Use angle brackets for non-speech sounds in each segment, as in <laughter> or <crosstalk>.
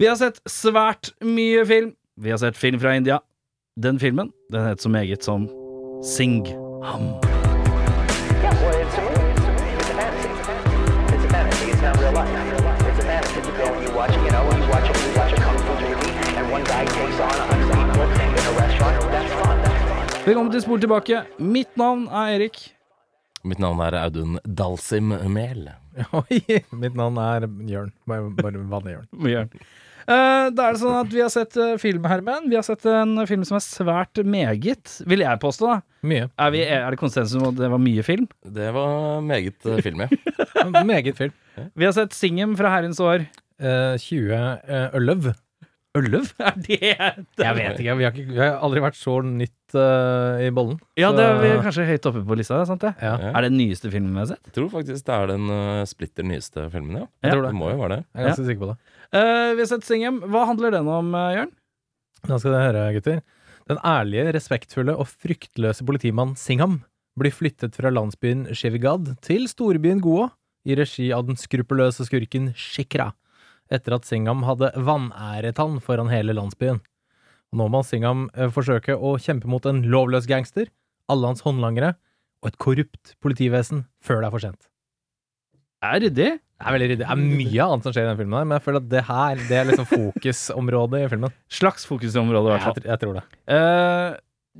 Vi har sett svært mye film. Vi har sett film fra India. Den filmen den het så meget som Sing Ham. Yeah, well, it's a movie. It's a movie. It's a fantasy. It's a fantasy. It's a fantasy. It's not real life. It's a fantasy. You go and you watch, you know, you watch, you watch a kung fu movie, and one guy takes on a hundred people in a restaurant. That's fun. That's fun. Velkommen til Spol tilbake. Mitt navn er Erik. Mitt navn er Audun Dalsim Mehl. <laughs> Oi, mitt navn er Jørn. Bare, bare vanlig Jørn. Eh, da er det sånn at Vi har sett eh, film, Herman. Vi har sett en film som er svært meget, vil jeg påstå. da. Mye. Er, vi, er det konsensus om at det var mye film? Det var meget eh, film, ja. Meget film. Vi har sett Singem fra herrens år. Eh, 2011. <laughs> Ølv? Er det Jeg vet ikke, vi har, ikke, vi har aldri vært så nytt eh, i bollen. Ja, Så- det er vi kanskje høyt oppe på lista. sant det? Ja. Er det den nyeste filmen vi har sett? Jeg tror faktisk det er den eh, splitter nyeste filmen, ja. Jeg tror det. det. må jo være det. Jeg er ganske sikker på det. Eh, vi har sett Singem. Hva handler den om, eh, Jørn? Da skal dere høre, gutter. Den ærlige, respektfulle og fryktløse politimannen Singham blir flyttet fra landsbyen Shevigad til storbyen Goa i regi av den skruppelløse skurken Shikra, etter at Singham hadde vanæret han foran hele landsbyen. Og nå må Singham eh, forsøke å kjempe mot en lovløs gangster, alle hans håndlangere og et korrupt politivesen før det er for sent. Er ryddig. Det er veldig ryddig. Det er mye annet som skjer i den filmen, her, men jeg føler at det her det er <laughs> liksom fokusområdet i filmen. Slags fokusområde, i hvert fall. Jeg, tr- jeg tror det. Eh,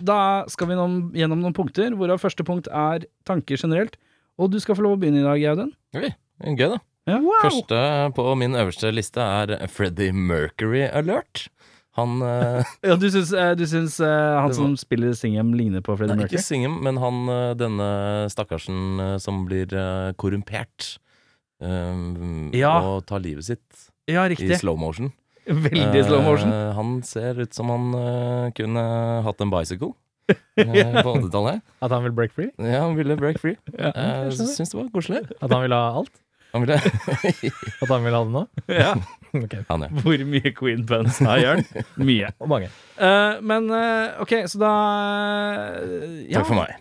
da skal vi noen, gjennom noen punkter, hvorav første punkt er tanker generelt. Og du skal få lov å begynne i dag, Audun. Mm, Gøy, da. Ja. Første på min øverste liste er Freddie Mercury Alert. Han <laughs> eh, Ja, du syns, eh, du syns eh, han Det var- som spiller Singem, ligner på Freddie Nei, ikke Mercury? Singham, men han eh, denne stakkarsen eh, som blir eh, korrumpert. eh, Ja. Og tar livet sitt Ja, i riktig. slow motion. <laughs> Veldig slow motion. Eh, han ser ut som han eh, kunne hatt en <laughs> bicycle eh, på 80-tallet. At han vil break free? Ja, han ville break free. <laughs> Ja, Eh, Syns det var koselig. At han vil ha alt? Han ville At han vil ha det nå? <laughs> <laughs> Ja. Ok, Han, ja. Hvor mye Queen Buns har Jørn? <laughs> Mye. Og mange. Eh, men eh, OK, så da eh, ja. Takk for meg.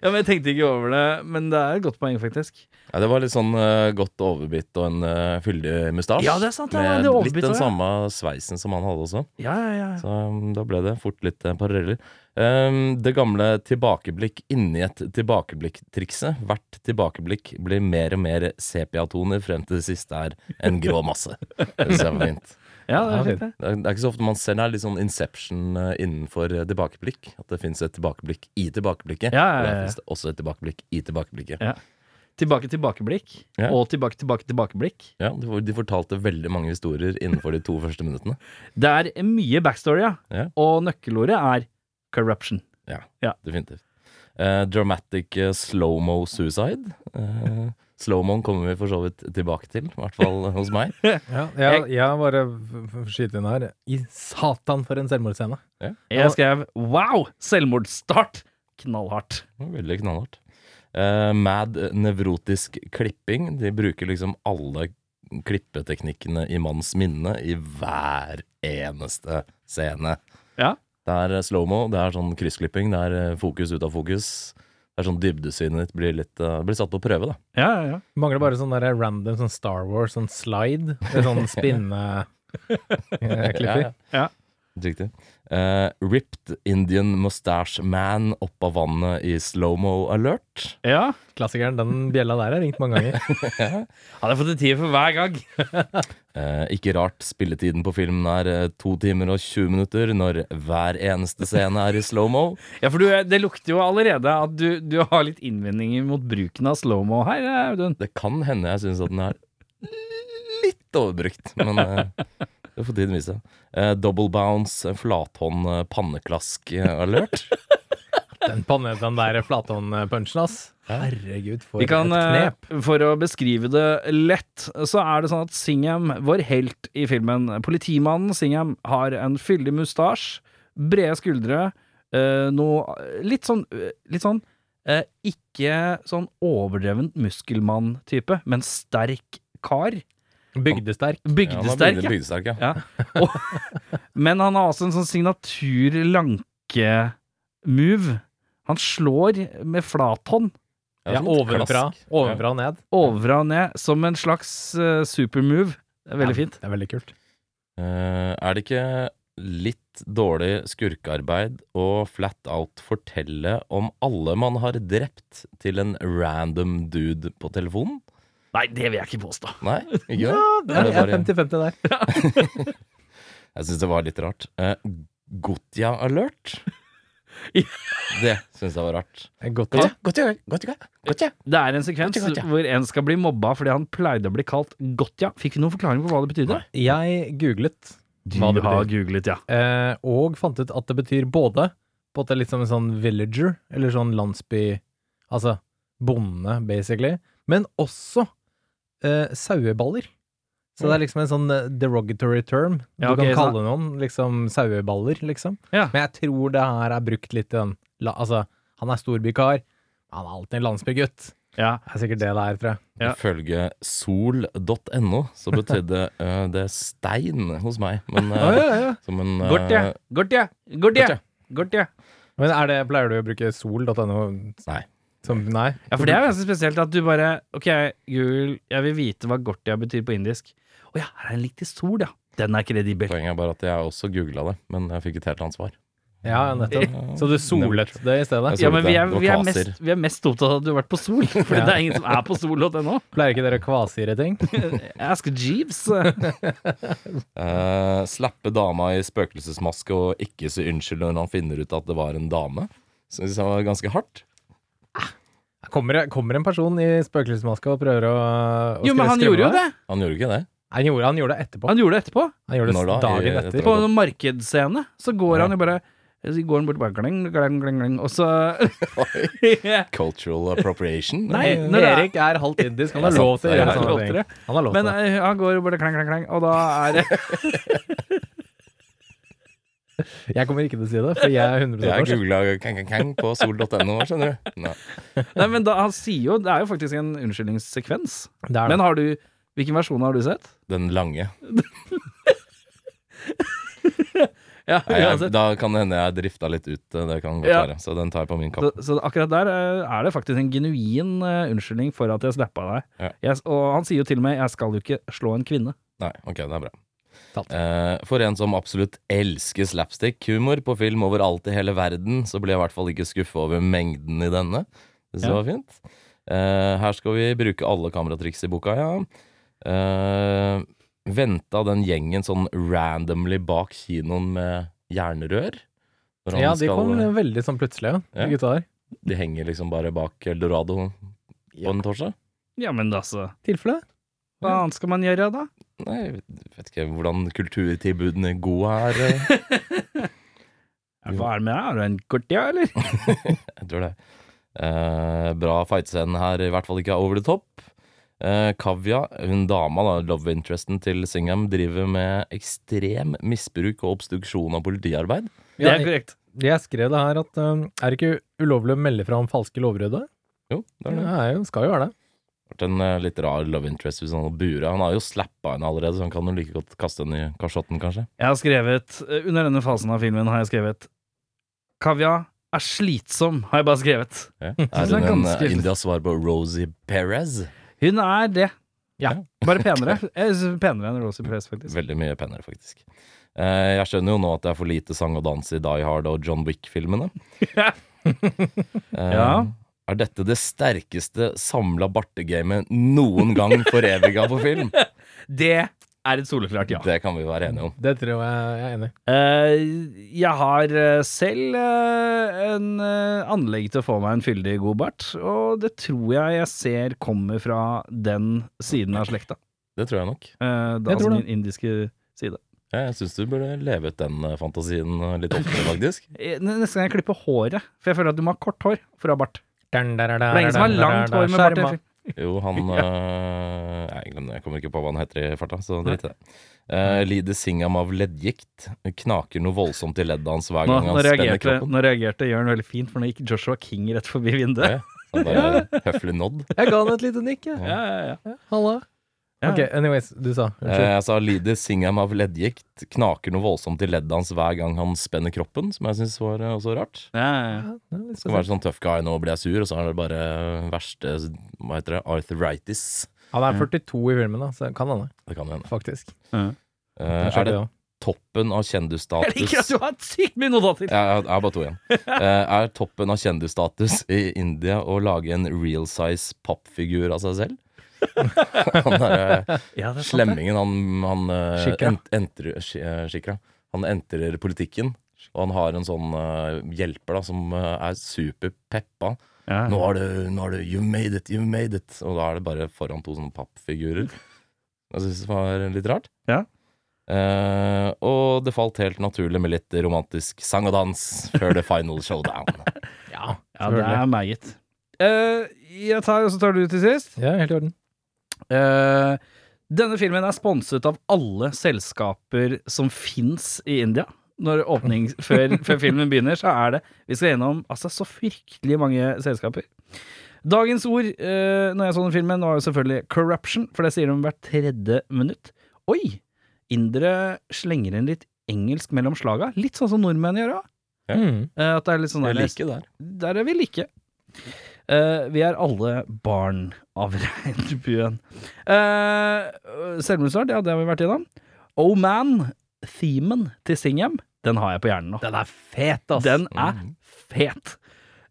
ja, men jeg tenkte ikke over det, men det er et godt poeng, faktisk. Ja, det var litt sånn eh, godt overbitt og en eh, fyldig mustasje. Ja, det er sant, ja, med det er overbitt litt den også, ja. samme sveisen som han hadde også. Ja, ja, ja. Så um, da ble det fort litt eh, paralleller. Um, det gamle tilbakeblikk inni et tilbakeblikk-trikset. Hvert tilbakeblikk blir mer og mer sepiatoner frem til det siste er en grå <laughs> masse. Det synes jeg var fint. ja det Ja, er fint, det. Det er, det er ikke så ofte man ser det er litt sånn Inception eh, innenfor eh, tilbakeblikk. At det fins et tilbakeblikk i tilbakeblikket. Ja, ja, Og ja, der ja. finnes det også et tilbakeblikk i tilbakeblikket. Tilbake tilbakeblikk, Ja. og tilbake tilbake tilbakeblikk. Ja, de, for- de fortalte veldig mange historier innenfor de to første minuttene. Det er mye backstory, ja. Ja. Og nøkkelordet er corruption. Definitivt. Eh, dramatic eh, slow-mo suicide. Eh, Slow-moen kommer vi for så vidt tilbake til, i hvert fall hos meg. Ja, jeg, jeg bare f- f- skyter inn her. I satan for en selvmordsscene. Jeg skrev 'wow, selvmordsstart'. Knallhardt. Det var Veldig knallhardt. Eh, mad nevrotisk klipping. De bruker liksom alle klippeteknikkene i manns minne i hver eneste scene. Ja. Det er eh, slow-mo, det er sånn kryssklipping, det er eh, fokus ut av fokus. Det er sånn dybdesynet blir litt eh, Blir satt på prøve, da. Ja, ja, ja. Mangler bare sånn der random sånn Star Wars, sånn slide. med <laughs> Sånn eh, Ja, spinneklipper. ja. Ja. Riktig. Eh, ripped Indian Mustache Man opp av vannet i slow-mo alert. ja. Klassikeren. Den bjella der har ringt mange ganger. Hadde jeg fått en tier for hver gang. Eh, ikke rart spilletiden på filmen er eh, to timer og 20 minutter når hver eneste scene er i slow-mo. Ja, for du, eh, Det lukter jo allerede at du, du har litt innvendinger mot bruken av slow-mo her, eh, Audun. Det kan hende jeg syns at den er litt overbrukt, men eh, det får tiden vise. Eh, double bounce, eh, flathånd, eh, panneklask eh, alert. Den, panne- den der flathåndpunchen, ass. Herregud, for Vi kan, et knep. eh, For å beskrive det lett, så er det sånn at Singham, vår helt i filmen, politimannen Singham, har en fyldig mustasje, brede skuldre, eh, noe litt sånn, eh, litt sånn eh, Ikke sånn overdreven muskelmann-type, men sterk kar. Bygdesterk. Ja, han er Bygdesterk, veldig ja. bygdesterk, ja. Men han har også en sånn signatur lanke-move. Han slår med flat hånd. Ja, Ja, sånn ovenfra, klask. ovenfra og ned. Overfra og ned, som en slags eh, supermove. Det er veldig fint. Det er veldig kult. Eh, er det ikke litt dårlig skurkearbeid å flat out fortelle om alle man har drept, til en random dude på telefonen? Nei, det vil jeg ikke påstå. Nei? <laughs> Ikke det? det er det bare- 50-50 der. Jeg syns det var litt rart. Eh, Gotia alert? Ja. Det syns jeg var rart. Godt ja. Gotia, Gotia, Gotia. Det er en sekvens Gotcha, gotcha. hvor en skal bli mobba fordi han pleide å bli kalt Gotja. Fikk vi noen forklaring på hva det betydde? Jeg googlet, Du Hva det har googlet, ja. eh, og fant ut at det betyr både på at det er litt som en sånn villager, eller sånn landsby Altså bonde, basically. Men også eh, saueballer. Så det er liksom en sånn eh, derogatory term. Du Mm. Ja, ok, kan kalle noen liksom saueballer, liksom. Ja. Men jeg tror det her er brukt litt i den la, Altså, han er storbykar. Han er alltid en landsbygutt. ja. Det er sikkert det det er, tror jeg. Ja. Ifølge sol.no så betydde eh, det stein hos meg, <laughs> men Ah, eh, Å, ja, ja. som en eh, Gotja, Gotja, Gotja, Gotcha. Gotja. Men er det, pleier du å bruke sol.no? Nei. Som, nei? Ja, for det er ganske spesielt at du bare Ok, Google, jeg vil vite hva Gortia betyr på indisk. Å ja, her er en lik til sol, ja. Den er kredibel. Poenget er bare at jeg også googla det, men jeg fikk et helt annet svar. Ja, <laughs> nettopp. Så du solet det i stedet? Jeg Ja, men vi er, Det var vi, er kvaser. mest, vi er mest opptatt av at du har vært på Sol, <laughs> for det er ingen som er på <laughs> sol.no. Pleier ikke dere å kvasire ting? Ask Jeeves. Eh, slappe dama i spøkelsesmaske og ikke si unnskyld når han finner ut at det var en dame. Syns jeg var ganske hardt. Kommer, kommer en person i spøkelsesmaske og prøver å, å Jo, men skre- han skremme gjorde jo deg? det. Han gjorde ikke det. Han gjorde, han gjorde det etterpå. Han gjorde det etterpå. Han gjorde det Når da? I- dagen jeg etter. tror- På en markedsscene så går han jo bare så går han bort bare gleng, gleng, gleng, gleng, og så <laughs> Cultural appropriation. Nei, når det er- Erik er halvt indisk, <laughs> han har Det er lov sant, til å det er gjøre sant. sånne ting. Han har lov Men til det. eh, han går bare kleng, kleng, kleng, og da er det eh, Jeg kommer ikke til å si <laughs> det, for jeg er 100 Jeg norsk. googla kang-kang-kang på sol.no, skjønner du. Nei. Nei, men da, han sier jo Det er jo faktisk en unnskyldningssekvens. Det er det. Men har du Hvilken versjon har du sett? Den lange. <laughs> Ja, altså, Nei, jeg, uansett. da kan det hende jeg drifta litt ut. eh, Det kan godt Ja. være. Så den tar jeg på min Så, kapp. så akkurat der eh, er det faktisk en genuin eh, unnskyldning for at jeg slappa deg. Ja. Jeg, og han sier jo til og med 'jeg skal jo ikke slå en kvinne'. Nei, ok, det er bra. Tatt. Eh, for en som absolutt elsker slapstick-humor på film overalt i hele verden, så blir jeg i hvert fall ikke skuffa over mengden i denne. Hvis det Ja. var fint. Eh, her skal vi bruke alle kameratriks i boka, ja. Eh, venta den gjengen sånn randomly bak kinoen med jernrør? Når han Ja, de skal- kom veldig sånn plutselig, ja. Ja. de gutta der. De henger liksom bare bak Eldorado på en torsdag? Ja, men altså Tilfelle. Hva annet skal man gjøre da? Nei, jeg vet- vet ikke hvordan kulturtilbudene gode er. eh. Ja, Hva er det med deg? Er du en gortia, eller? Jeg tror det. Eh, bra fightscene her, i hvert fall ikke over the top. Eh, Kavya, hun dama, da, love interesten til Singham, driver med ekstrem misbruk og obstruksjon av politiarbeid. Det er korrekt. Jeg skrev det her at um, er det ikke ulovlig å melde fra om falske lovbrudd? da? Jo, det er Det det. er jo, skal jo være det. Vært en eh, litt rar love interest hvis han hadde bura. Han har jo slappa henne allerede, så han kan jo like godt kaste henne i kasjotten, kanskje. Jeg har skrevet eh, Under denne fasen av filmen har jeg skrevet Kavya er slitsom, har jeg bare skrevet. Ja. er Er hun en ganske- eh, Indias svar på Rosie Perez? Hun er det. Ja. <laughs> Bare penere. Jeg synes hun er Penere enn Rosie Perez, faktisk. Veldig mye penere, faktisk. Eh, jeg skjønner jo nå at det er for lite sang og dans i Die Hard og <laughs> John Wick-filmene. Eh, Ja. Er dette det sterkeste samla bartegamet noen gang foreviga på film? Det er et soleklart <laughs> ja. Det kan vi være enige om. Det tror jeg jeg er enig i. Eh, jeg har eh, selv eh, en eh, anlegg til å få meg en fyldig god bart, og det tror jeg jeg ser kommer fra den siden av slekta. Det tror jeg nok. Eh, da, Jeg tror altså det. min indiske side. Jeg syns du burde leve ut den eh, fantasien eh, litt oftere, faktisk. Eh, Neste gang jeg klipper håret, for jeg føler at du må ha kort hår for å ha bart. Det er Det er ingen som har langt hår med bart. jeg- Jo, <laughs> han eh, Nei, glem det. Jeg kommer ikke på hva han heter i farta, så drit i det. Uh, lider Singham av leddgikt. Knaker noe voldsomt i leddet hans hver Nå, gang nå, han spenner reagerte, kroppen. nå reagerte Jørn veldig fint, for nå gikk Joshua King rett forbi vinduet. <laughs> Ja, ja. Han bare høflig nodd. Jeg ga han et lite nikk, jeg. Ja, ja, ja. Halla. Ja. Ok, anyways, du sa. Eh, Unnskyld. jeg sa Lidis Singham av leddgikt knaker noe voldsomt i leddet hans hver gang han spenner kroppen, som jeg syns var eh, også rart. Ja, ja, ja. Ja, det er litt Skal være sånn tøff guy, nå blir jeg sur, og så er det bare verste Hva heter det? Arthritis. spesielt. Han Mm. er 42 i filmen, da, så kan han det, Det kan hende. faktisk. Eh, Kanskje er det det også. toppen av <laughs> kjendisstatus Jeg liker at du har sykt mye notater! Jeg jeg- jeg har bare to igjen. Eh, er toppen av kjendisstatus i India å lage en real size pappfigur av seg selv? han der eh, Ja, det er sant, det. slemmingen, han, han eh, Shikra. ent- entrer, sk- eh, Shikra. Han entrer politikken, og han har en sånn eh, hjelper da, som eh, er superpeppa. Ja. Nå har du, nå har du You made it, you made it. Og da er det bare foran to sånne pappfigurer. Jeg syns det var litt rart. Ja. Eh, og det falt helt naturlig med litt romantisk sang og dans før the <laughs> final showdown. Ja, Ja, det er meget. Eh, jeg tar, og så tar du til sist. Ja, helt i orden. Eh, denne filmen er sponset av alle selskaper som fins i India. Når <laughs> åpning, før, før filmen begynner, så er det Vi skal gjennom altså, så fryktelig mange selskaper. Dagens ord eh, når jeg så den filmen, var jo selvfølgelig corruption, for det sier de hvert tredje minutt. Oi! Indere slenger inn litt engelsk mellom slaga. Litt sånn som nordmenn gjør òg. Ja. Mm. at det er litt sånn Jeg der- liker det. der er vi like. Eh, vi er alle barn av <laughs> regnbuen. Uh, Selvmordsstart, ja, det har vi vært gjennom. Oh Man, themen til Singham, den har jeg på hjernen nå. Den er fet, ass! Mm. Den er fet.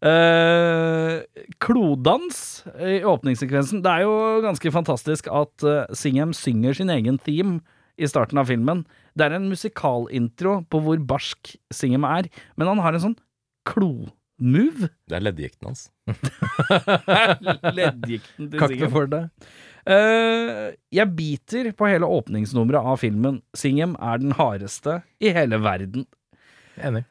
Eh, klodans i åpningssekvensen. Det er jo ganske fantastisk at eh, Singham synger sin egen theme i starten av filmen. Det er en musikalintro på hvor barsk Singham er, men han har en sånn klo-move. Det er leddgikten hans. Leddgikten til Kakte Singham. for det. Eh, jeg biter på hele åpningsnummeret av filmen. Singham er den hardeste i hele verden. Enig.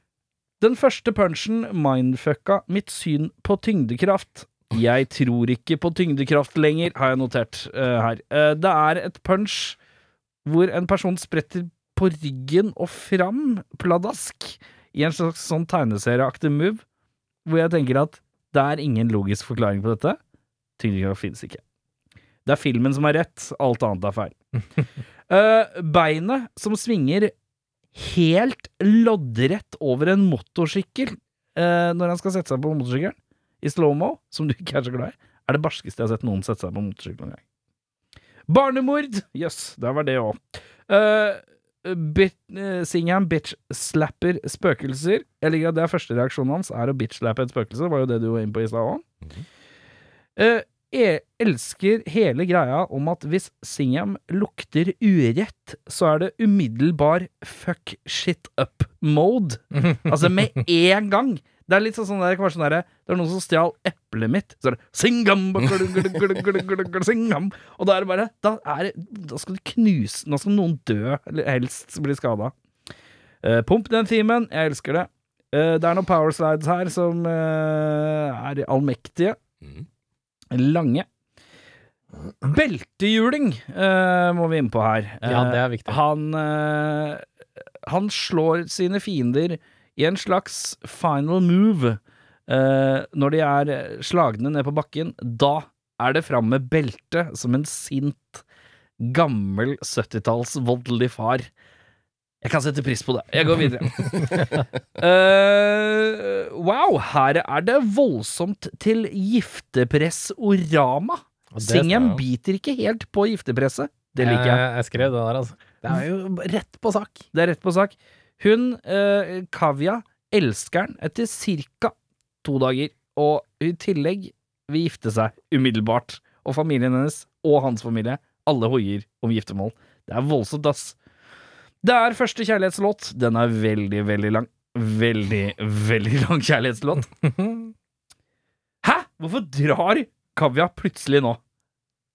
Den første punchen mindfucka mitt syn på tyngdekraft. Jeg tror ikke på tyngdekraft lenger, har jeg notert eh, her. Eh, det er et punch hvor en person spretter på ryggen og fram, pladask, i en slags sånn tegneserieaktig move, hvor jeg tenker at det er ingen logisk forklaring på dette. Tyngdekraft finnes ikke. Det er filmen som er rett, alt annet er feil. Eh, beinet som svinger helt loddrett over en motorsykkel eh, når han skal sette seg på motorsykkelen, i slow-mo, som du ikke er så glad i, er det barskeste jeg har sett noen sette seg på motorsykkel noen gang. Barnemord! Jøss, yes, der var det Eh, òg. Singham bitch-slapper spøkelser. Jeg liker at det er første reaksjonen hans, er å bitch-slappe et spøkelse. var jo det du var inne på i stad Eh, òg. Jeg elsker hele greia om at hvis Singham lukter urett, så er det umiddelbar fuck shit up-mode. Altså med en gang. Det er litt sånn sånn der, kanskje sånn der, det er noen som stjal eplet mitt. Så er det Singham, bakglu, glu, glu, glu, glu, glu, Singham. Og da er det bare Da, er, det- da skal du knuse Nå skal noen dø, eller helst bli skada. pump den timen. Jeg elsker det. Eh, det er noen power slides her som eh, er allmektige. Mm. Lange. Beltehjuling eh, må vi inn på her. Ja, det Eh, er viktig. han, eh, han slår sine fiender i en slags final move. Eh, når de er slagne ned på bakken, da er det fram med beltet som en sint, gammel 70-talls voldelig far. Jeg kan sette pris på det. Jeg går videre. Eh, wow, her er det voldsomt til giftepressorama. Og det- Singham biter ikke helt på giftepresset. Det liker jeg. Jeg skrev det der, altså. Det er jo rett på sak. Det er rett på sak. Hun, eh, Kavya, elsker han etter ca. to dager. Og i tillegg vil gifte seg umiddelbart. Og familien hennes og hans familie, alle hoier om giftermål. Det er voldsomt, ass. Det er første kjærlighetslåt. Den er veldig, veldig lang. Veldig, veldig lang kjærlighetslåt. Hæ?! Hvorfor drar Kavya plutselig nå?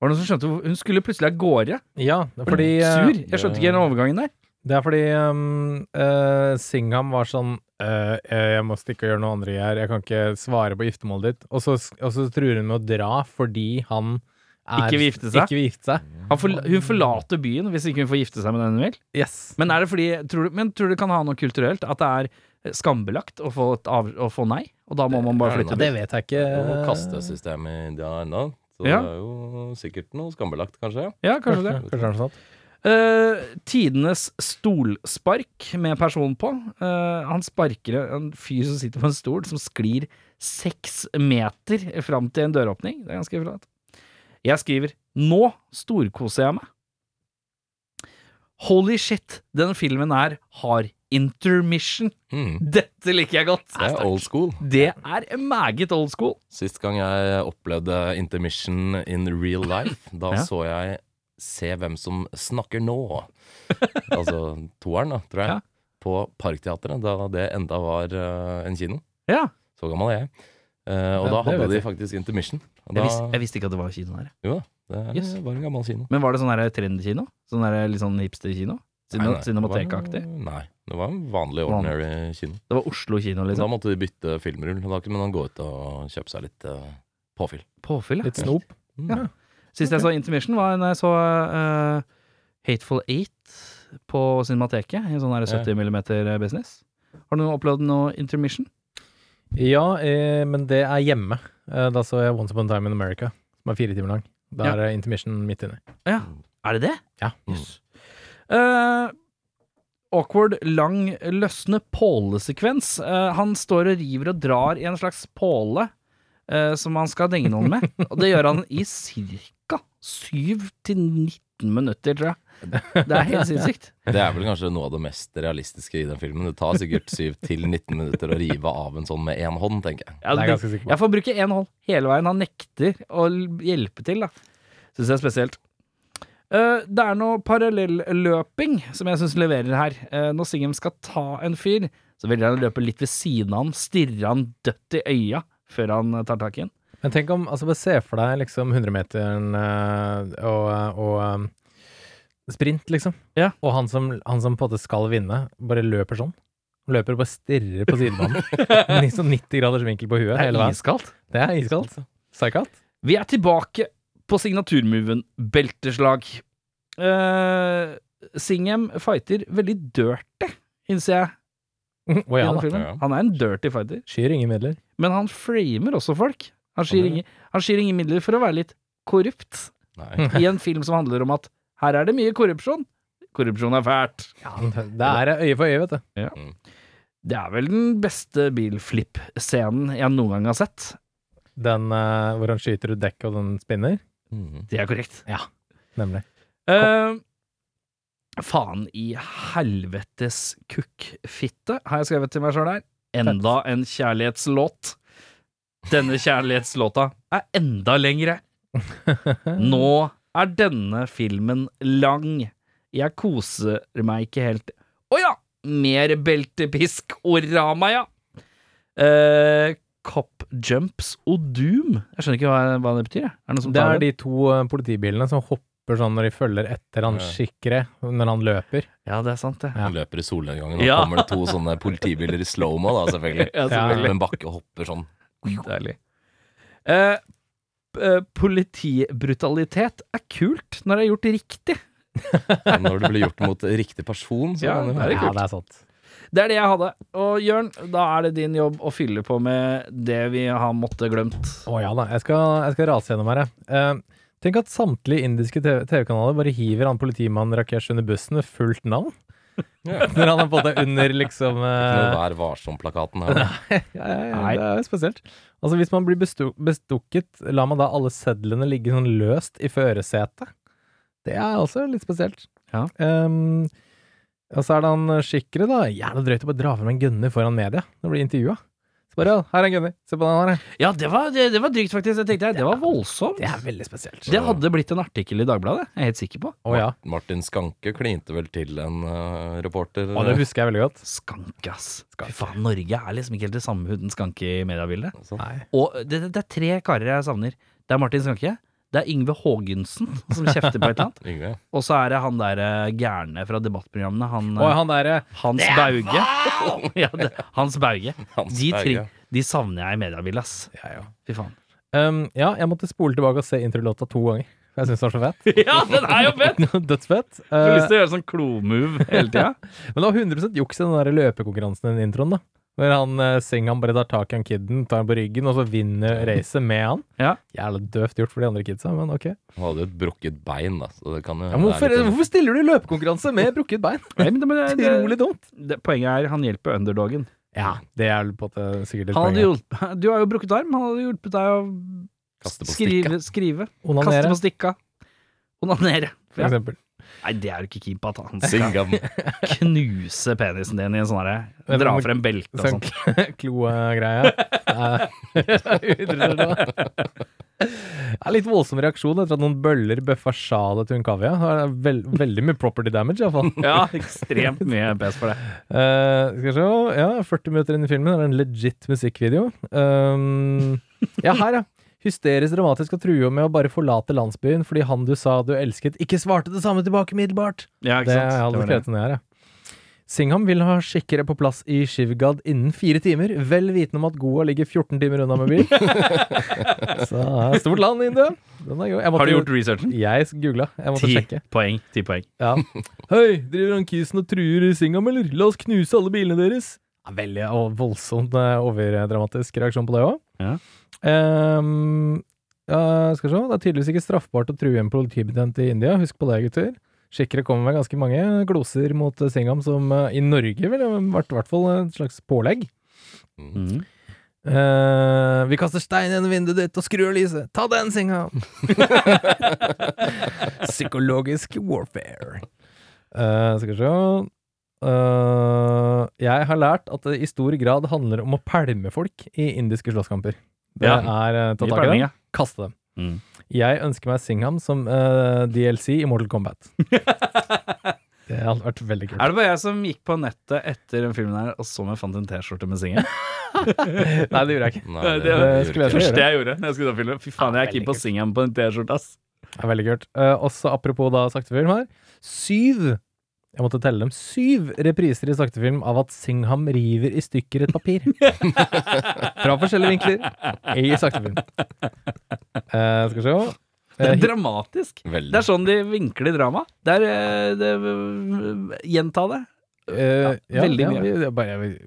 Var det noen som skjønte hvor- Hun skulle plutselig av gårde. <laughs> Ja, det er Ble fordi hun eh, sur? Jeg skjønte ikke den overgangen der. Det er fordi um, eh, Singham var sånn eh, eh, Jeg må stikke og gjøre noe andre greier. Jeg kan ikke svare på giftermålet ditt. Og så, og så truer hun med å dra fordi han er, Ikke vil gifte seg? Ikke vil gifte seg. Han forla- hun forlater byen hvis ikke hun får gifte seg med den hun vil. Yes. Men er det fordi tror du, Men tror du det kan ha noe kulturelt? At det er eh, skambelagt å få, et av, å få nei? Og da må man bare er det flytte dit? nok. det vet jeg ikke. Og kastesystemet i India ennå. Så det Eh. Ja. er jo sikkert noe skambelagt, kanskje. Ja, kanskje det. Kanskje det er noe sånt. Eh, tidenes stolspark med person på. Eh, han sparker en fyr som sitter på en stol, som sklir seks meter fram til en døråpning. Det er ganske flaut. Jeg skriver 'Nå storkoser jeg meg'. Holy shit, den filmen her har intermission. Mm. Dette liker jeg godt. Det er old school. Det er meget old school. Sist gang jeg opplevde intermission in real life, da Ja. så jeg Se hvem som snakker nå. Altså toeren, da, tror jeg. Ja. På Parkteatret, da det enda var eh, en kino. Ja. Så gammel er jeg. Eh, og Ja, da det hadde vet de jeg. faktisk intermission. Og Jeg, da, vis, jeg visste ikke at det var kino her. jo da, det er- Yes. var en gammel kino. Men var det sånn her trendy-kino? Sånn her litt sånn hipster-kino? Nei, nei, Cinema- Cinemateka-aktig? det var- Nei, det var en vanlig, ordinary kino. Det var Oslo kino, Da liksom. måtte de bytte filmrull. Da kunne man gå ut og kjøpe seg litt eh, påfyll. Påfyll, ja. Litt snop. Mm. Ja. Sist jeg så Intermission, var da jeg så eh, Hateful Eight på Cinemateket. I en sånn her 70 mm business. Har du opplevd noe Intermission? Ja, eh, men det er hjemme. Eh, da så jeg Once Upon a Time in America, som er fire timer lang. Da Ja. er det intermission midt inni. Ja. Er det det? Ja. Jøss. Eh, awkward, lang, løsne pålesekvens. Eh, han står og river og drar i en slags påle eh, som han skal denge noen med. Og det gjør han i ca. 7-19 minutter, tror jeg. Det er helt sinnssykt. Det er vel kanskje noe av det mest realistiske i den filmen. Det tar sikkert 7-19 minutter å rive av en sånn med én hånd, tenker jeg. Ja, det er jeg det- ganske sikker på. Jeg får bruke én hånd hele veien. Han nekter å l- hjelpe til, da. Syns jeg er spesielt. Eh, det er noe parallelløping som jeg syns leverer her. Eh, når Singham skal ta en fyr, så velger han å løpe litt ved siden av han, stirre han dødt i øya før han eh, tar tak i han. Men tenk om, altså bare se for deg liksom 100-meteren eh, og, og eh, sprint, liksom. Ja. Og han som, han som på en måte skal vinne, bare løper sånn. Løper og bare stirrer på <laughs> sidebanen. Litt sånn 90 graders vinkel på huet Det hele er veien. iskaldt. Det er iskaldt. altså. Psykat. Vi er tilbake på signaturmoven belteslag. Eh, Singham fighter veldig dirty, innser jeg. Å i <laughs> ja denne da. filmen. ja. Han er en dirty fighter. Skyr ingen midler. Men han framer også folk. Han skyr, Han gjør ingen, han skyr ingen midler for å være litt korrupt Nei. i en film som handler om at her er det mye korrupsjon. Korrupsjon er fælt. Ja, det er øye for øye, vet du. Det er vel den beste bilflip-scenen jeg noen gang har sett. Den eh, hvor han skyter ut dekk og den spinner. Mhm. Det er korrekt. Nemlig. Eh, faen i helvetes kukkfitte, har jeg skrevet til meg sjøl her. Enda en kjærlighetslåt. Denne kjærlighetslåta er enda <laughs> lengre. Nå er denne filmen lang. Jeg koser meg ikke helt. Å ja! Mer beltepisk og rama, ja! Eh, cop jumps og doom. Jeg skjønner ikke hva, hva det betyr. jeg. Er det noen som Det tar er de to eh, politibilene som hopper sånn når de følger etter han Ja. skikkere, når han løper. Ja, det er sant, det. Han løper i solnedgangen, og Ja. kommer det to sånne politibiler i slow-mo, da, selvfølgelig. Ja, selvfølgelig. Opp en bakke og hopper sånn. Deilig. Eh, p- eh, politibrutalitet er kult når det er gjort riktig. Men når det blir gjort mot riktig person, så Ja, kan det det er være Ja, det er sant. Det er det jeg hadde. Og Jørn, da er det din jobb å fylle på med det vi har måttet glemt. Å ja da. Jeg skal, jeg skal rase gjennom her, jeg. Eh, tenk at samtlige indiske TV- TV-kanaler bare hiver han politimannen Rakesh under bussen med fullt navn. Ja. <laughs> Når han er på det under, liksom Med eh, Vær varsom-plakaten her. da. ja, ja, ja, Nei. Det er jo spesielt. Altså, hvis man blir bestu- bestukket, la man da alle sedlene ligge sånn løst i førersetet? Det er også litt spesielt. Ja. Ehm, og så er det han eh, skikkere, da. Jævla drøyt å bare dra frem en gunner foran media når du blir intervjua. Så bare, ja, her er en gunner. Se på den her. jeg». Ja, det var, det, det var drygt, faktisk. Jeg tenkte, Det var voldsomt. Det er veldig spesielt. Det hadde blitt en artikkel i Dagbladet, jeg er helt sikker på. Å ja. Martin Skanke klinte vel til en eh, reporter. Og det husker jeg veldig godt. Skanke, ass. Skanke. Fy faen, Norge er liksom ikke helt det samme uten skanke i mediebildet. Sånn. Nei. Og det, det er tre karer jeg savner. Det er Martin Skanke. Det er Yngve Haagensen som kjefter på et eller annet. Yngve. Og så er det han der eh, gærne fra debattprogrammene, han, Og eh, han derre Hans Bauge. <laughs> ja, det, Hans Bauge. <laughs> Hans de, Berge. tre- de savner jeg i mediebildet, ass. Fy faen. um, Ja, jeg måtte spole tilbake og se introlåta to ganger. for Jeg syns den var så fett. <laughs> Ja, den er jo fett! <laughs> Dødsfett. Får Eh, <laughs> lyst til å gjøre sånn klo-move hele tida. men det var 100 juks i den der løpekonkurransen i den introen, da. Når han eh, Singham bare tar tak i han kiden, tar han på ryggen, og så vinner racet med han. Ja. Jævla døvt gjort for de andre kidsa, men ok. Han hadde jo et brukket bein, da, så det kan jo Ja, men hvorfor, det er litt- hvorfor stiller du i løpekonkurranse med brukket bein? Nei, men det, men det, Utrolig det, dumt. det, poenget er, han hjelper underdogen. Ja, det er på det, sikkert et Han hadde poeng. hjulpet, <laughs> du har jo brukket arm, han hadde hjulpet deg å Kaste på skrive, skrive kaste Onanere, på stikka, onanere. for Ja. eksempel. Nei, det er du ikke keen på, at han skal sånn Singam. knuse penisen din i en sånn herre Men Dra må- frem beltet og Sånn sånn. <laughs> kloegreie. <laughs> Det er litt voldsom reaksjon etter at noen bøller bøffa sjalet til Unkavia. Det er Vel, veldig mye property damage, iallfall. Ja, <laughs> ekstremt mye pes for det. Uh, skal vi se Ja, 40 minutter inn i filmen er det en legit musikkvideo. Ehm, ja, her, ja. Hysterisk dramatisk og truer med å bare forlate landsbyen fordi han du sa du elsket, ikke svarte det samme tilbake umiddelbart. Ja, ikke Det sant? jeg hadde Det var det. skrevet ned her, ja. Singham vil ha skikkere på plass i Shivgad innen fire timer, vel vitende om at Goa ligger 14 timer unna med <laughs> bil. Så det er stort land, India. Den er god. Jeg måtte- Har du gjort researchen? Jeg googla. Jeg måtte Ti sjekke. poeng. Ti poeng. Ja. <laughs> Hei, driver han kisen og truer Singham, eller? La oss knuse alle bilene deres. Ja, veldig og voldsomt eh, overdramatisk reaksjon på det òg. Ja. skal vi se. Det er tydeligvis ikke straffbart å true en politibetjent i India. Husk på det, gutter. Tsjekkere kommer med ganske mange gloser mot eh, Singham, som eh, i Norge ville vært i hvert fall et slags pålegg. Mm. Mhm. Eh, vi kaster stein gjennom vinduet ditt og skrur av lyset. Ta den, <laughs> Singham! Psykologisk warfare. Eh, skal vi se Eh, Jeg har lært at det i stor grad handler om å pælme folk i indiske slåsskamper. Det Ja. er uh, ta Mye tak i poeng, dem, ja. kaste dem. Mm. Jeg ønsker meg Singham som eh, DLC i <laughs> Mortal Kombat. det hadde vært veldig kult. Er det bare jeg som gikk på nettet etter den filmen her, og så om jeg fant en T-skjorte med singel? Nei, det gjorde jeg ikke. Nei, Nei, det, det det gjorde ikke. skulle jeg gjøre. Første jeg gjorde når jeg skulle ta filmen. Fy faen, jeg er keen på singelen på en T-skjorte, ass. Det er veldig kult. Eh, også apropos da saktefilm her. Syv jeg måtte telle dem. Syv repriser i saktefilm av at Singham river i stykker et <laughs> papir. Fra forskjellige vinkler i saktefilm. Eh, skal vi Det se Eh, er dramatisk. Veldig. Det er sånn de vinkler drama. Det er eh, det, eh, Gjenta det. Eh, ja, veldig ja, mye. vi- det er bare en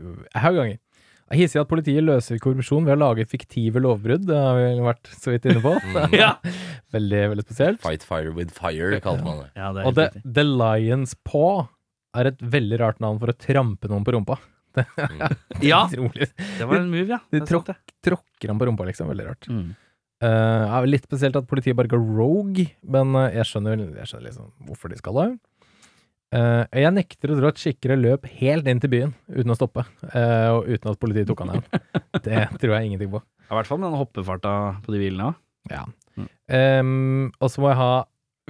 haug ganger. Det er Hissig at politiet løser korrupsjon ved å lage fiktive lovbrudd. Det har vi vært så vidt inne <laughs> på. Mm. Ja, Veldig, veldig spesielt. Fight fire with fire, kaller man det. det Og det, The Lion's Paw er et veldig rart navn for å trampe noen på rumpa. Mm. <laughs> Ja, Utrolig det var en move, ja. de Det er sant, det. tråkker han på rumpa, liksom. Veldig rart. Mm. Eh, det er vel litt spesielt at politiet bare går rogue, men eh, jeg, skjønner, jeg skjønner liksom hvorfor de skal det. Eh, jeg nekter å tro at skikkere løp helt inn til byen uten å stoppe, eh, og uten at politiet tok han hjem. Det tror jeg ingenting på. Ja, I hvert fall med den hoppefarta på de bilene òg. Ja. Mm. Ehm, og så må jeg ha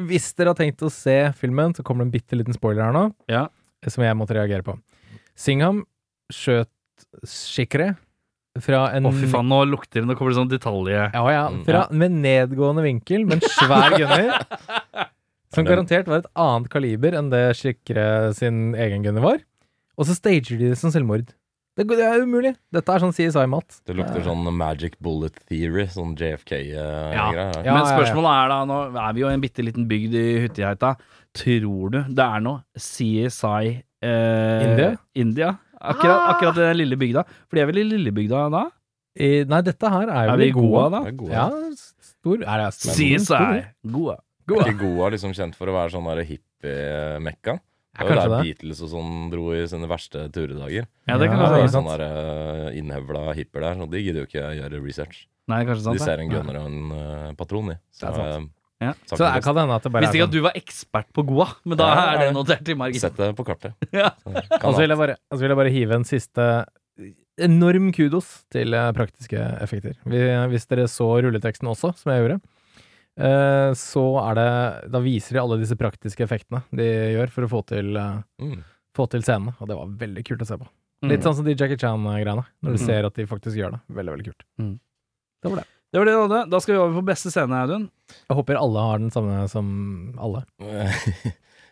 Hvis dere har tenkt å se filmen, så kommer det en bitte liten spoiler her nå, Ja. eh, som jeg måtte reagere på. Singham skjøt skikkere fra en Å, fy faen, nå lukter det Nå kommer det sånn detalje. Ja, ja. Mm. Fra, Med nedgående vinkel, med en svær gunner. Som garantert var et annet kaliber enn det Skikre sin egen gunner var. Og så stager de det som selvmord. Det, det er umulig! Dette er sånn CSI-mat. Det lukter sånn magic bullet theory, sånn JFK-greier. Ja. Men spørsmålet er da, nå er vi jo i en bitte liten bygd i Hutiheita. Tror du det er noe CSI eh, India? India? Akkurat, akkurat den lille bygda. For de er vel i lillebygda da? I, nei, dette her er jo Er vi i Goa da? Det er gode. Ja, s- stor er det, stor- stor- CSI. Goa. Er ikke Goa liksom kjent for å være sånn der hippie-mekka? Det Ja, var jo kanskje der det. Beatles og sånn dro i sine verste turedager. Ja, det kan Ja, være det ikke er sant. sant. sånn der eh, innhevla hipper der, og de gidder jo ikke gjøre research. Nei, kanskje sant. De det. ser en gunner og en eh, patron i. Det er sant. eh, Ja. sagt Så det det kan hende at det bare Visste er ikke at sånn. du var ekspert på Goa, men da Ja, ja, er det ja. notert i margen. Sett det på kartet. Ja. Så Og Kan så vil jeg bare- og så vil jeg bare hive en siste enorm kudos til eh, praktiske effekter. Vi, hvis dere så rulleteksten også, som jeg gjorde, eh, så er det Da viser de alle disse praktiske effektene de gjør for å få til, eh, Mm. få til scenene, og det var veldig kult å se på. Mm. Litt sånn som de Jackie Chan-greiene, når du Mm. ser at de faktisk gjør det. Veldig, veldig kult. Mm. Det var det. Det var det du hadde. Da skal vi over på beste scene, <laughs> Audun. Jeg håper alle har den samme som alle. <laughs>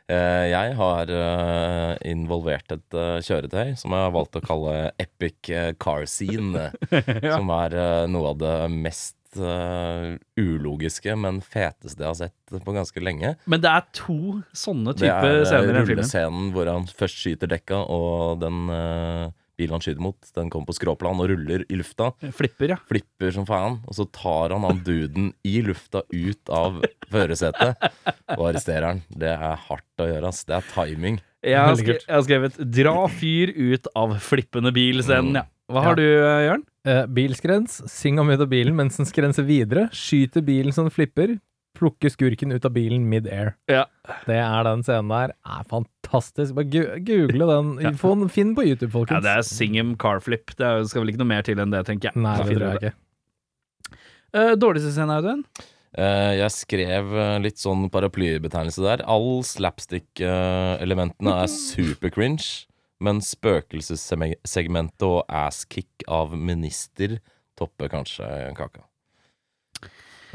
Eh, jeg har eh, involvert et eh, kjøretøy som jeg har valgt å kalle Epic eh, Car <laughs> Scene. Som er eh, noe av det mest eh, ulogiske, men feteste jeg har sett på ganske lenge. Men det er to sånne Det type er eh, scener i den filmen. rullescenen hvor han først skyter dekka, og den eh, bilen han skyter mot, den kommer på skråplan og ruller i lufta. Flipper, ja. Flipper som faen, og så tar han han duden i lufta ut av førersetet og arresterer han. Det er hardt å gjøre, ass. Det er timing. Jeg har, Veldig skre, kult. jeg har skrevet 'dra fyr ut av flippende bil'-scenen, Mm. ja. Hva har Ja. du, eh, Jørn? Eh, bilskrens. Syng om ut av bilen mens den skrenser videre. Skyter bilen som den flipper. Plukker skurken ut av bilen mid-air. Ja. Det er den scenen der. Er fantastisk. Bare gu- google den. Få den finn på YouTube, Ja, folkens. det er Singham Carflip. Det er jo- skal vel ikke noe mer til enn det, tenker jeg. Nei, Da det finner tror jeg du det. ikke. Eh, dårligste scenen, Audun? Eh, jeg skrev eh, litt sånn paraplybetegnelse der. All slapstick-elementene Mm. er super-cringe, men spøkelsessegmentet og ass-kick av minister topper kanskje kaka.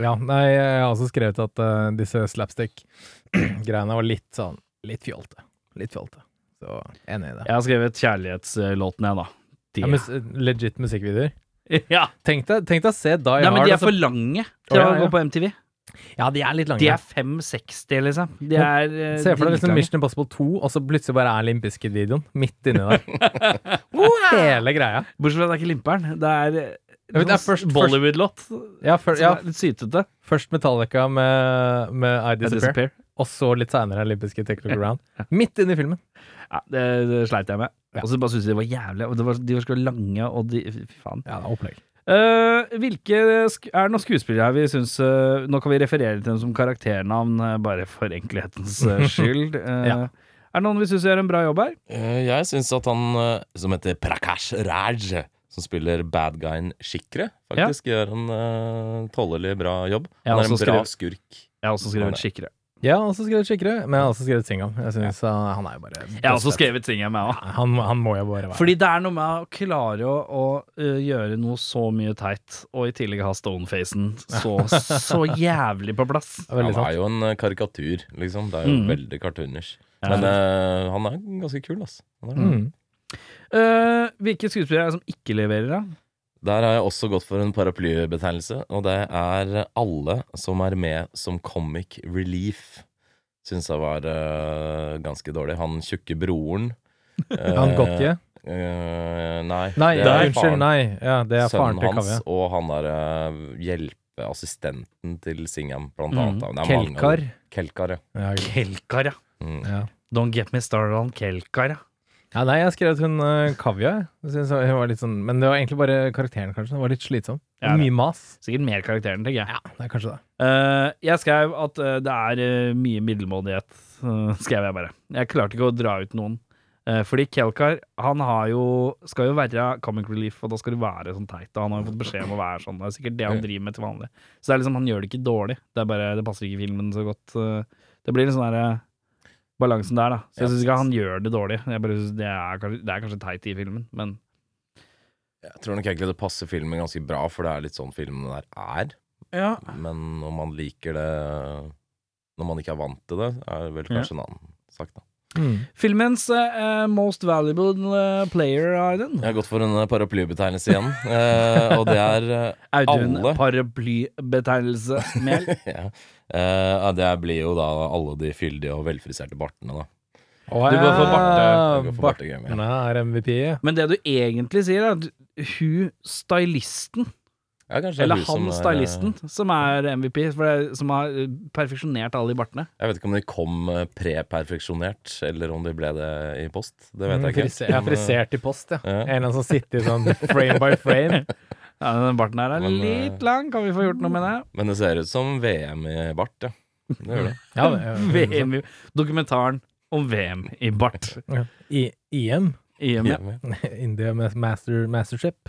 Ja, nei, jeg har også skrevet at eh, disse <clears throat> slapstick-greiene var litt sånn Litt fjolte. Litt fjolte. Så enig i det. Jeg har skrevet kjærlighetslåten, jeg, da. De, Ja, ja, men s- legit musikkvideoer. <laughs> Tenk deg, tenk deg å se Die Nei, men de Hard. er og så- for lange til Å, å ja, ja. gå på MTV. ja, de er litt lange. De er 5,60, liksom. De er eh, Se for deg liksom dritlange. Mission Impossible 2, og så plutselig bare er Limp Bizkit-videoen midt inni der. Hele greia. Bortsett fra at det er ikke Limper'n. Det er, eh, sånn Ja, men det er først- Bollywood-låt. Ja, før, Ja. ja, Litt sytete. først Metallica med, med I I Disappear, Disappear. og så litt seinere Limp Bizkit Take a Look Around. Midt inni filmen. Ja, det, det sleit jeg med. Ja. Og så bare syntes jeg de var jævlig. Og det var, de var så lange, og de Fy faen. Ja, det er opplegg. Eh, hvilke sk er det noen skuespillere her vi syns eh, Nå kan vi referere til dem som karakternavn, eh, bare for enkelhetens <laughs> eh, skyld. Eh, Ja. Er det noen vi syns gjør en bra jobb her? Eh, jeg syns at han eh, som heter Prakash Raj, som spiller bad guyen Shikre, faktisk gjør en eh, tålelig bra jobb. Jeg Han har er en også bra skrevet- skurk. Jeg har også skrevet Skikkere. Jeg har også skrevet Skikkere, men jeg har også skrevet Singham. Jeg synes uh, han er jo bare Jeg har også skrevet ting jeg med òg. han, han må jo bare være Fordi det er noe med å klare å, å eh, gjøre noe så mye teit, og i tillegg ha stonefacen så, så <laughs> jævlig på plass. Det er Veldig han sant. er jo en eh, karikatur, liksom. Det er jo Mm. veldig cartoonish. Men eh, han er ganske kul, ass. Han er det. Mm. Eh, hvilke skuespillere er det som ikke leverer, da? Der har jeg også gått for en paraplybetegnelse, og det er alle som er med som comic relief. Syns jeg var eh, ganske dårlig. Han tjukke broren. eh, <laughs> Han Gotye? eh, nei, Nei, det er unnskyld, faren. nei. Ja, det er Sønnen faren til hans Kavya. og han der eh, hjelpeassistenten til Singham, blant Mm. annet. Det er mange av Kelkar. dem. Kelkar, ja. Ja, Kelkar, ja. Mm. ja. Don't get me started on Kelkar, ja. Ja, nei, jeg skrev at hun uh, Kavya. jeg. Jeg synes hun var litt sånn, men det var egentlig bare karakteren, kanskje. Den var litt slitsom. Ja, det. Mye mas. Sikkert mer karakteren, tenker jeg. Ja, det er kanskje det. Eh, jeg skrev at eh, det er eh, mye middelmådighet, eh, skrev jeg bare. Jeg klarte ikke å dra ut noen. Eh, fordi Kelkar han har jo, skal jo være comic relief, og da skal du være sånn teit. Og han har jo fått beskjed om å være sånn. Det er sikkert det han driver med til vanlig. Så det er liksom, han gjør det ikke dårlig. Det er bare, det passer ikke filmen så godt. eh. det blir en sånn derre balansen der, da. Så jeg syns ikke han gjør det dårlig. Jeg bare synes det, er, kanskje- det er kanskje teit i filmen, men Jeg tror nok egentlig det passer filmen ganske bra, for det er litt sånn filmen der er. ja. Men om man liker det når man ikke er vant til det, er vel Ja. kanskje en annen sak, da. Filmens eh, most valuable eh, player, Aiden. Jeg har gått for en eh, paraplybetegnelse igjen, eh, og det er eh, Audun Alle. paraplybetegnelse Mel. <laughs> ja. Eh, ja, Det blir jo da alle de fyldige og velfriserte bartene, da. du går for Ah, Barte. Du Barte. går for Barte Gamer, ja. Bartene er MVP. Men det du egentlig sier, er at hun stylisten, Ja, kanskje det er eller hun som han er, eh, stylisten, som er MVP, for det er, som har eh, perfeksjonert alle de bartene. Jeg vet ikke om de kom eh, preperfeksjonert, eller om de ble det i post. Det vet jeg ikke. eh, Friser, jeg er Mm, frisert i post, ja. Ja. En eller annen som sitter i sånn frame by frame. Ja, den barten her er Men, eh, litt lang, kan vi få gjort noe med <laughs> det? Men det ser ut som VM i bart, ja. Det gjør det. Ja, det- VM, i- dokumentaren om VM i bart. ja. I, IM. I og med- India Mas- Master, Mastership.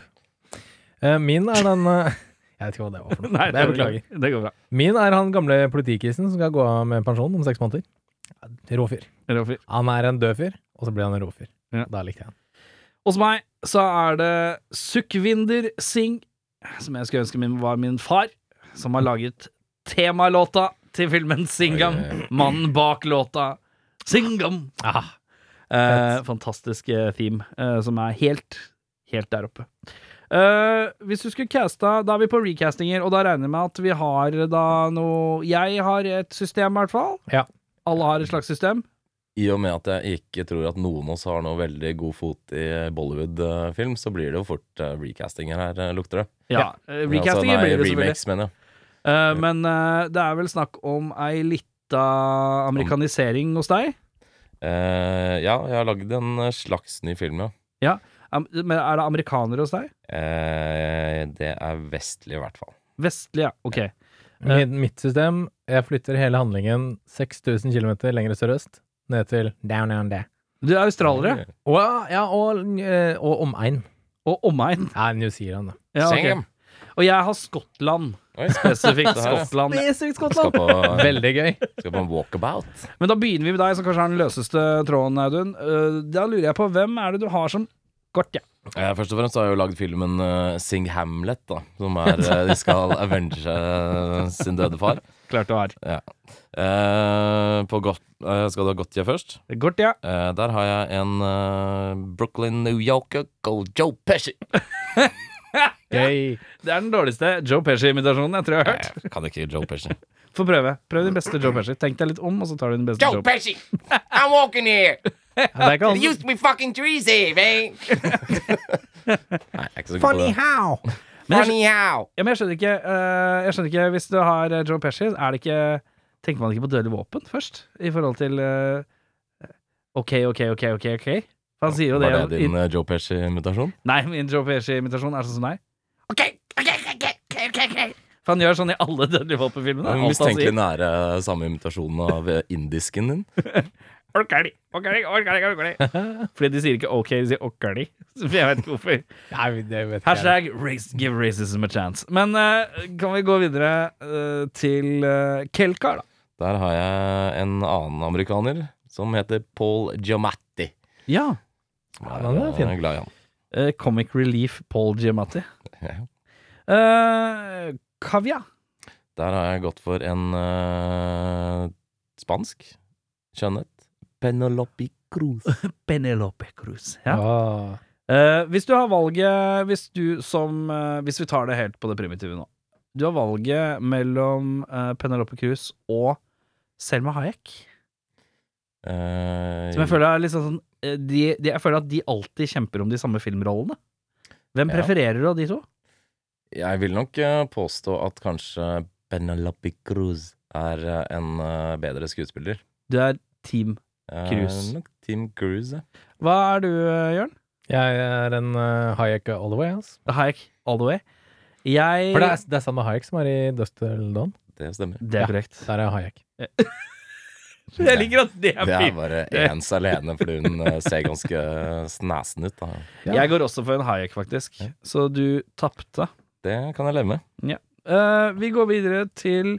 Eh, min er den eh, <laughs> Jeg vet ikke hva det var for noe. Nei, det er beklager. Det går bra. Min er han gamle politikissen som skal gå av med pensjon om seks måneder. Ja, Rå fyr. Det går fint. Han er en død fyr, og så blir han en rå fyr. Ja. Da likte jeg han. Hos meg så er det Sukhvinder Singh, som jeg skulle ønske min, var min far, som har laget temalåta til filmen Singam. Oi, Ah. oi, Mannen bak låta Singam. Eh, fantastisk eh, theme, eh, som er helt, helt der oppe. Eh, hvis du skulle casta Da er vi på recastinger, og da regner jeg med at vi eh, har da noe Jeg har et system, i hvert fall. Ja. Alle har et slags system. i og med at jeg ikke tror at noen av oss har noe veldig god fot i Bollywood-film, så blir det jo fort eh, recastinger her, eh, lukter det. Ja, eh, recastinger Altså, nei, blir det selvfølgelig. remakes, mener jeg. Eh, men eh, det er vel snakk om ei lita amerikanisering hos deg? Eh, ja, jeg har lagd en eh, slags ny film, ja. Am- Men er det amerikanere hos deg? Eh, det er vestlig, i hvert fall. Vestlige, ok. Mitt, mitt system Jeg flytter hele handlingen 6000 km lenger sørøst, ned til down down there. Du er australiere, Og, ja, ja, og, eh, og omegn. og omegn. Nei, New Zealand, da. Ja, ok. Same. Og jeg har Skottland. Oi, Spesifikt Det her, ja. Skottland. Basic skal på, <laughs> Veldig gøy. skal på en walkabout. Men da begynner vi med deg, som kanskje har den løseste tråden, Audun. Eh, da lurer jeg på, hvem er det du har som kort, ja? Eh, først og fremst har jeg jo lagd filmen eh, Sing Hamlet, da. Som er eh, De <laughs> skal avenge eh, sin døde far. Klart du har. Ja. Eh, på godt, eh, skal du ha Gotje først? Kort, ja. Eh, der har jeg en eh, Brooklyn, New Yorker, called Joe Pesci. Gøy. Det er den dårligste Joe Pesci-imitasjonen jeg tror jeg har hørt. Jeg kan ikke Joe Pesci. Få prøve. Prøv din beste Joe Pesci. Tenk deg litt om, og så tar du den beste <laughs> Joe Joe Pesci. Pesci, I'm walking <laughs> here. Ja, Det er ikke It han. used to be fucking trees man. Nei, jeg er ikke så god på Funny det. how. Funny how. Ja, men jeg skjønner ikke, eh, jeg skjønner ikke Hvis du har eh, Joe Pesci, er det ikke Tenker man ikke på dødelig våpen først? I forhold til eh, OK, OK, OK, OK, OK? For han sier jo det. Var det din i, eh, Joe Pesci-invitasjon? nei, min Joe Pesci-imitasjon er sånn som meg. Okay, okay, okay, okay, okay, okay. For han gjør sånn i alle dødelige våpen-filmene. Det er Alt han Mistenkelig sier. nære eh, samme imitasjonen av eh, indisken din. Orkali, orkali, orkali, <laughs> orkali. Fordi de sier ikke OK, de sier orkali. Så Jeg vet ikke hvorfor. <laughs> Nei, det vet ikke jeg. Hashtag race, give racism a chance. Men eh, kan vi gå videre eh, til uh, Kelkar, da? Der har jeg en annen amerikaner som heter Paul Giamatti. Ja. Ja, den er fin. Jeg er glad i han. Eh, comic relief Paul Giamatti. Ja. Eh, Kavya. Der har jeg gått for en eh, spansk skjønnhet. Penelope Cruz. Benelope Cruz. Ja. Ah. Eh, hvis du har valget Hvis du som eh, Hvis vi tar det helt på det primitive nå. Du har valget mellom eh, Penelope Cruz og Selma Hayek. Eh, <laughs> Som jeg føler er liksom sånn eh, de, de, Jeg føler at de alltid kjemper om de samme filmrollene. Hvem Ja. prefererer du av de to? jeg vil nok eh, påstå at kanskje Penelope Cruz er eh, en eh, bedre skuespiller. Du er team. Eh, Cruz. nok Team Cruz, ja. Hva er du, eh, Jørn? Jeg er en uh, Hayek all the way, altså. Hayek all the way. Jeg For det er, det er samme Hayek som er i Dust Till Dawn. Det stemmer. Det Ja. er korrekt. Der er Hayek. Jeg liker at det er Det er fint. bare ens alene, fordi hun eh, ser ganske <laughs> snesen ut. Da. Ja. Jeg går også for en Hayek, faktisk. Så du tapte. Det kan jeg leve med. Eh, vi går videre til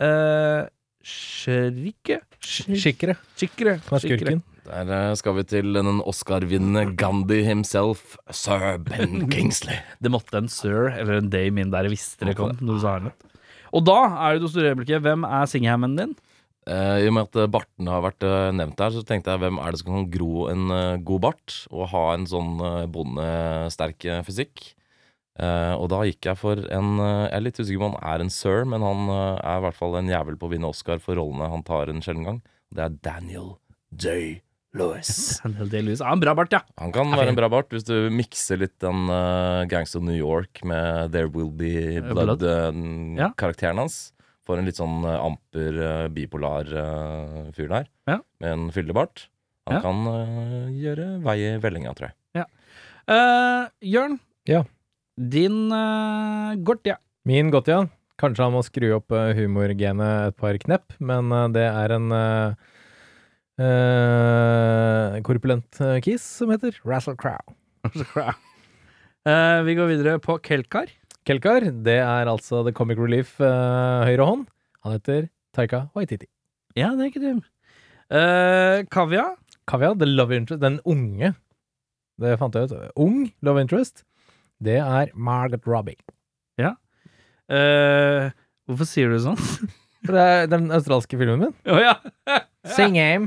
uh, Shrike. Skikkere. Shikre. Som er skurken. Der eh, skal vi til den Oscar-vinnende Gandhi himself, sir <laughs> Ben Kingsley. Det måtte en sir eller en dame inn der jeg visste det kom. Når du sa Hamlet. Og da er det det store øyeblikket. Hvem er singhammen din? Eh, I og med at eh, barten har vært eh, nevnt her, så tenkte jeg hvem er det som kan gro en eh, god bart og ha en sånn eh, bondesterk eh, fysikk? Eh, og da gikk jeg for en eh, Jeg er litt usikker på om han er en sir, men han eh, er i hvert fall en jævel på å vinne Oscar for rollene han tar en sjelden gang. Det er Daniel Day Lewis. Daniel Day-Lewis. Ah, en bra bart, ja. Han kan være en bra bart hvis du mikser litt den uh, Gangs of New York med There Will Be Eh, Blood. Ja. Blood-karakteren hans. Får en litt sånn eh, amper, eh, bipolar eh, fyr der, Ja. med en fyllebart. Han Ja. kan eh, gjøre vei i vellinga, tror jeg. Eh, Jørn. Ja. Din uh, Gortia. Min Gotian. Kanskje han må skru opp eh, humorgenet et par knepp, men eh, det er en eh, eh, korpulent eh, kis som heter Russell Crowe. Eh, vi går videre på Kelkar. Kelkar, det er altså The Comic Relief eh, høyre hånd. Han heter Taika Waititi. Ja, det er ikke dum. Uh, Kavya. Kavya, The Love Interest, den unge Det fant jeg ut. Ung Love Interest. Det er Margaret Robbie. Eh, hvorfor sier du det sånn? <laughs> For Det er den australske filmen min. Å ja. Sing him.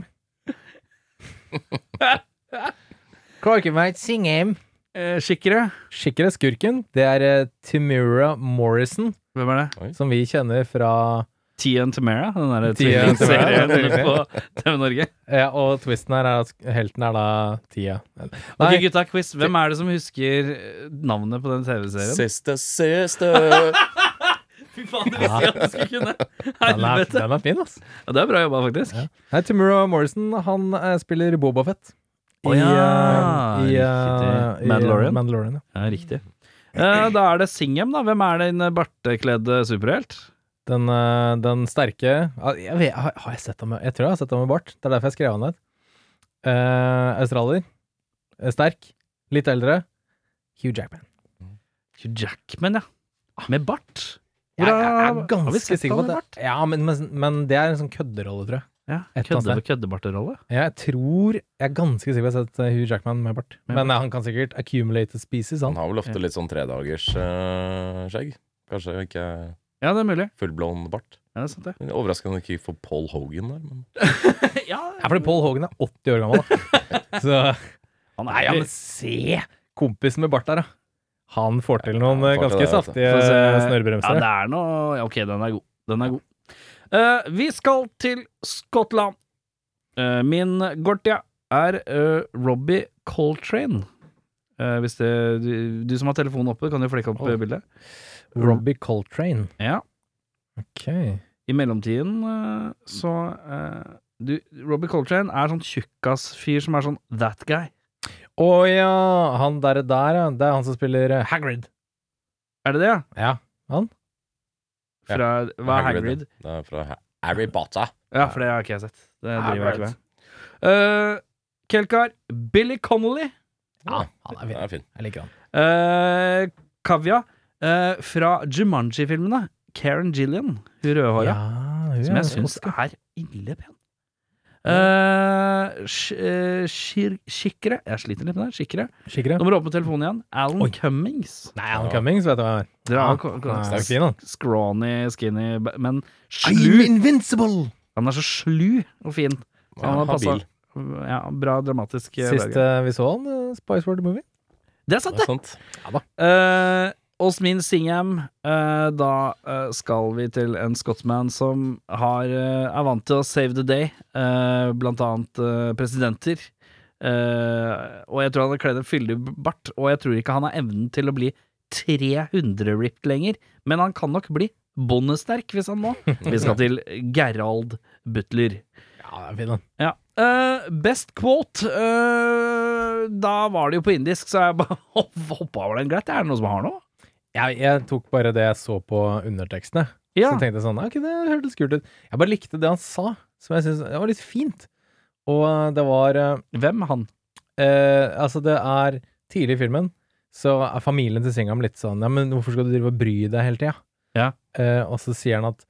Croakermate, sing him. Eh, Skikkere. Skikkere skurken, det er eh, Timura Morrison, Hvem er det? som vi kjenner fra Tian Tamara, den der Tia and <laughs> Tamara, tvillingserien på TV Norge. Ja, eh, og twisten her er at helten er da Tia. Nei, Ok, gutta, quiz. Hvem er det som husker eh, navnet på den TV-serien? Sister, <laughs> sister Fy faen, det visste jeg at du skulle <laughs> kunne! den, er, Helvete. den er fin, ass. Ja, Det er bra jobba, faktisk. Nei, Timura Morrison, han eh, spiller Boba Fett. I, Å ja, eh, i, riktig. eh, i Mandalorian. Mandalorian ja. Ja, riktig. Eh, da er det Singham, da. Hvem er den bartekledde superhelt? den, eh, den sterke ja, jeg vet, har, har jeg sett ham med Jeg tror jeg har sett ham med bart. Det er derfor jeg skrev han ned. Eh, australier. Eh, Sterk. Litt eldre. Hugh Jackman. Hugh Jackman, ja. Med bart. Jeg, jeg, Hvordan- er har vi ganske sett sikker på han med at det, Ja, men, men, men det er en sånn kødderolle, tror jeg. Ja, Et eller kødde, annet køddebarterolle. Jeg tror Jeg er ganske sikker på at jeg har sett eh, Hugh Jackman med bart. Med Men eh, han kan sikkert accumulate species, Han han. har vel ofte litt sånn tredagers eh, skjegg. Kanskje ikke Ja, det er mulig. fullblond bart. Ja, det er <laughs> sant, det. Men Overraskende ikke for Paul Hogan der, men Ja, fordi Paul Hogan er 80 år gammel, <laughs> da. Så Han Nei, ja, men se! Kompisen med bart der, da. Han får til noen Ja, eh, han får til ganske det, vet du. saftige altså. Få se. Ja, snørrbremser. det er noe ja, Ok, den er god. Den er god. Eh, vi skal til Skottland. Eh, min Gortia er eh, Robbie Coltrane. Eh, hvis det, du, du som har telefonen oppe, kan jo flekke opp Oh. eh, bildet. Robbie Coltrane. Ja. Ok. I mellomtiden eh, så eh, du, Robbie Coltrane er sånn tjukkas-fyr som er sånn that guy. Å ja, han derre der, ja. Det er han som spiller eh, Hagrid. Er det det, ja? Ja. Ja. Fra, Hva er Hagrid? Det er fra Ha- Harry Potter. Ja, for det har ikke jeg sett. Det driver jeg ikke Hagrid. med. Eh, Kelkar, Billy Connolly, Ja, han er Den fin. er fin. Jeg liker han. eh, Kavya, eh, fra Jumanji-filmene. Karen Gillian, hun rødhåra, Ja, som jeg syns er ille pen. Eh, sh- eh, Shir- Shikre Jeg sliter litt med det. Shikre. Skikkelig. Nå må du opp med telefonen igjen. Alan Oi. Cummings. Nei, han Cummings, vet du hva han er. Dere har ko- ko- Han er fin, han. Scrawny, skinny, b- men slu. invincible! Han er så slu og fin. Så han har Habil. passet- Ja, bra dramatisk. eh, Sist eh, vi så han, eh, Spice World Movie. Det er sant, Det det! er sant. Eh, Åsmin Singham, eh, da eh, skal vi til en skotsman som har, eh, er vant til å save the day, eh, blant annet eh, presidenter. Eh, og jeg tror han har kledd en fyldig bart, og jeg tror ikke han har evnen til å bli 300 ripped lenger, men han kan nok bli bondesterk hvis han må. Vi skal til Gerald Butler. Ja, han er fin, han. Ja. Eh, best quote eh, Da var det jo på indisk, så jeg bare <laughs> hoppa over den glatt. Er det noen som har noe? Jeg, jeg tok bare det jeg så på undertekstene. Ja. Så tenkte jeg sånn, ok, det hørtes kult ut. Jeg bare likte det han sa, som jeg syntes det var litt fint. Og eh, det var, eh, Hvem han? eh, altså det er tidlig i filmen, så er familien til Singham litt sånn, ja, men hvorfor skal du drive og bry deg hele tiden? Ja. Eh, og så sier han at,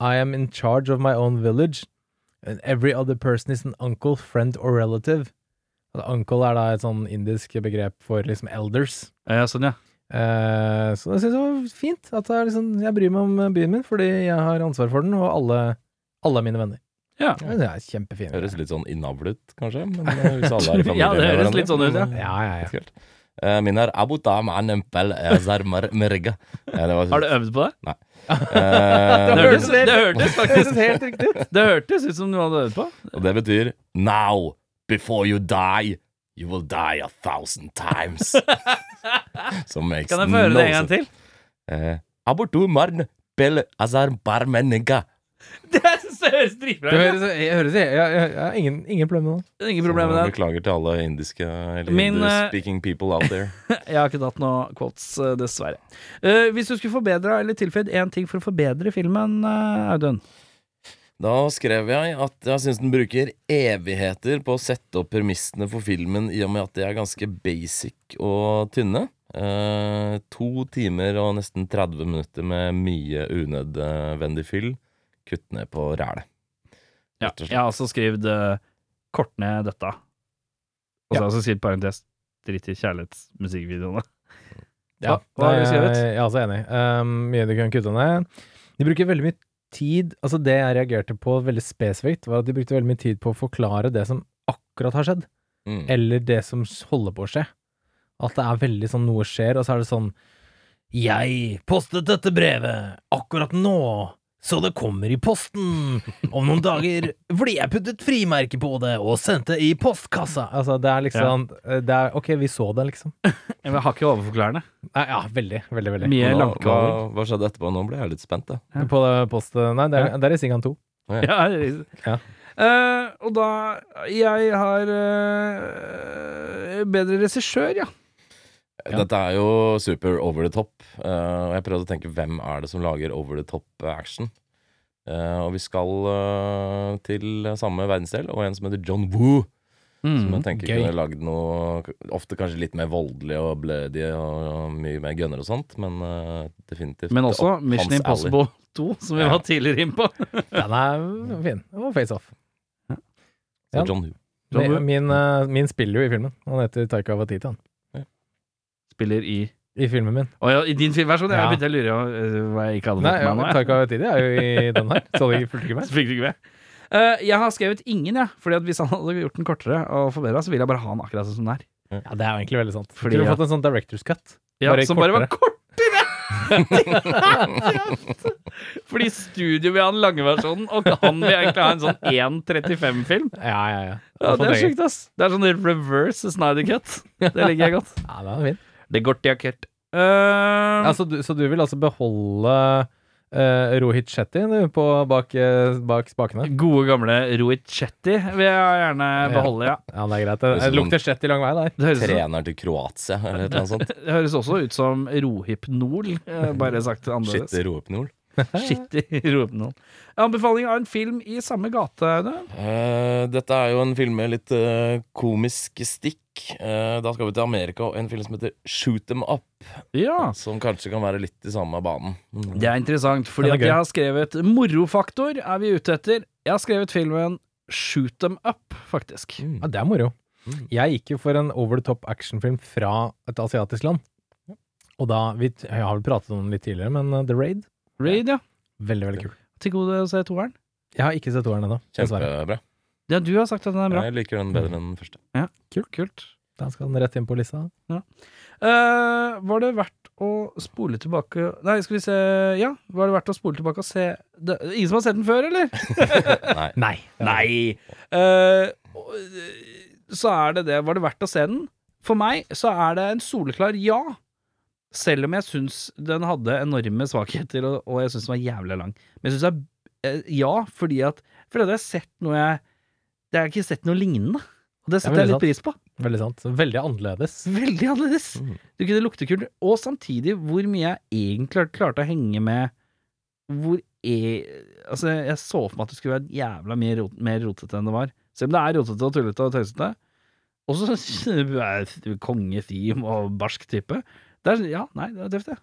I am in charge of my own village, and every other person is an uncle, friend or relative. Altså, uncle er da et sånn indisk begrep for liksom elders. Ja, sånn, ja. Eh, så det synes jeg var fint. At det er liksom, jeg bryr meg om byen min fordi jeg har ansvar for den, og alle, alle er mine venner. Ja. Ja, Det er kjempefint. Høres litt sånn innavlet ut, kanskje. <laughs> Men eh, hvis alle er i familie Ja, det med høres hverandre. litt sånn ut, ja. Ja, ja, ja. Kult. Eh, Min er Abu Tam Anempel Ezar Merga. Har du øvd på det? Eh, <laughs> Det Det hørtes, hørtes helt- det hørtes, Det faktisk, høres helt riktig ut. det hørtes ut som du hadde øvd på. Og det betyr Now, before you die, you will die a thousand <laughs> times. Som makes Kan jeg få høre det en gang til? Eh, Abortu marn bel azar barmeniga. <laughs> Det synes jeg høres Det dritbra ut. høres, jeg, høres, jeg, jeg, jeg, har ingen, ingen problem med det. ja. Ingen problem med det. Beklager til alle indiske eller Min, eh, speaking people out there. <laughs> Jeg har ikke tatt noen quotes, eh, dessverre. Eh, hvis du skulle forbedra eller tilføyd én ting for å forbedre filmen, eh, Audun Da skrev jeg at jeg syns den bruker evigheter på å sette opp premissene for filmen, i og med at de er ganske basic og tynne. Eh, to timer og nesten 30 minutter med mye unødvendig fyll. Kutt ned på rælet. Ja, Rett og slett. jeg har også skrevet eh, kort ned dette. Og så har jeg også skrevet parentes drit i kjærlighetsmusikkvideoene. Hva- hva har du det- skrevet? Jeg er også enig. Um, mye du kan kutte ned. De bruker veldig mye tid Altså, det jeg reagerte på veldig spesifikt, var at de brukte veldig mye tid på å forklare det som akkurat har skjedd. Mm. eller det som holder på å skje. At det er veldig sånn noe skjer, og så er det sånn Jeg postet dette brevet akkurat nå, så det kommer i posten om noen dager, fordi jeg puttet frimerke på det og sendte i postkassa. Altså, det er liksom det er, Ok, vi så det, liksom. <laughs> Jeg har ikke overforklarende. Nei, ja, veldig, veldig. veldig. Mye Hva, hva, langkaver. hva skjedde etterpå? Nå ble jeg litt spent, da. På det post... Nei, det er, det er i Singan 2. Ja, det er- Ja. Eh, og da Jeg har eh, bedre regissør, ja. Dette er jo super over the top. eh, Og jeg prøvde å tenke hvem er det som lager over the top eh, action. Eh, og vi skal eh, til samme verdensdel, og en som heter John Woo. Mm, Som jeg tenker gøy. kunne lagd noe k- ofte kanskje litt mer voldelig og blødig og, og mye mer gunner og sånt, men eh, definitivt Men også opp- Mission hans Impossible 2, som vi Ja. var tidligere inne på. Den er fin. Og Face Off. alley. Så John Woo. John Woo. Min, min, eh, min spiller jo i filmen. Han heter Taika Watiti, han. Spiller i I filmen min. Å ja, i din filmversjon? Ja. Ja. Jeg begynte å lure på eh, hva jeg ikke hadde Nei, fått ja, med meg. Taika Watiti er jo i den her, så det fulgte ikke <laughs> med. Så fikk du ikke med. Eh, jeg har skrevet ingen, jeg. Fordi at hvis han hadde gjort den kortere og forbedra, så ville jeg bare ha den akkurat sånn som den er. Ja, det er jo egentlig veldig sant. Fordi, Skulle ja. fått en sånn director's cut. Ja, Bare som bare var kortere! <laughs> fordi studio vil ha den lange versjonen, og han vil egentlig ha en sånn 1.35-film. Ja, ja, ja. Ja, Fått det er egen- sjukt, ass. Det er sånn reverse Snyder Cut. Det liker jeg godt. Ja, det er fint. <laughs> Det går til akkert. Eh, Ja, så, du, så du vil altså beholde eh, Rohit Shetty du, på, bak, eh, bak spakene? Gode gamle Rohit Chetty vil jeg gjerne beholde, ja. Ja, det er greit. Det, Hvis det lukter Shetty lang vei der. Det høres, Treneren til Kroatia, eller et eller <laughs> annet sånt. det høres også ut som Rohypnol, eh, bare sagt annerledes. Shit, <laughs> roepnol. Shit i Rohypnol. Anbefaling av en film i samme gate, Aune. Eh, dette er jo en film med litt eh, komisk stikk. Eh, da skal vi til Amerika og en film som heter Shoot Them Up. Ja. Som kanskje kan være litt i samme banen. Mm. Det er interessant, fordi Den er at gøy. jeg har skrevet morofaktor, er vi ute etter. Jeg har skrevet filmen Shoot Them Up, faktisk. Ja, det er moro. Mm. Jeg gikk jo for en over the top actionfilm fra et asiatisk land. Og da vi, Jeg har vel pratet om den litt tidligere, men eh, The Raid Raid, ja. Veldig, veldig kul. Til gode å se toeren. Jeg har ikke sett toeren ennå, dessverre. Kjempebra. Ja, du har sagt at den er bra. Jeg liker den bedre enn den første. Kult, kult. Da skal den rett inn på lista. Eh, var det verdt å spole tilbake Nei, skal vi se Ja, var det verdt å spole tilbake og se det, Ingen som har sett den før, eller? Nei. Nei. Nei! Eh, og, eh, så er det det. Var det verdt å se den? For meg så er det en soleklar ja. Selv om jeg syns den hadde enorme svakheter, og, og jeg syns den var jævlig lang. Men jeg syns det er eh, ja, fordi at Fordi at jeg har sett noe jeg Jeg har ikke sett noe lignende. Og det men setter jeg det er litt pris på. Veldig sant. Veldig annerledes. Veldig annerledes. Mm. Du kunne lukte kult. Og samtidig hvor mye jeg egentlig klarte, klarte å henge med Hvor jeg Altså, jeg så for meg at det skulle være jævla mye rot, mer rotete enn det var. Selv om det er rotete og tullete og tøysete. Og så <laughs> er du kongeteam og barsk type. Det er, sånn, ja, nei, det er tøft, det.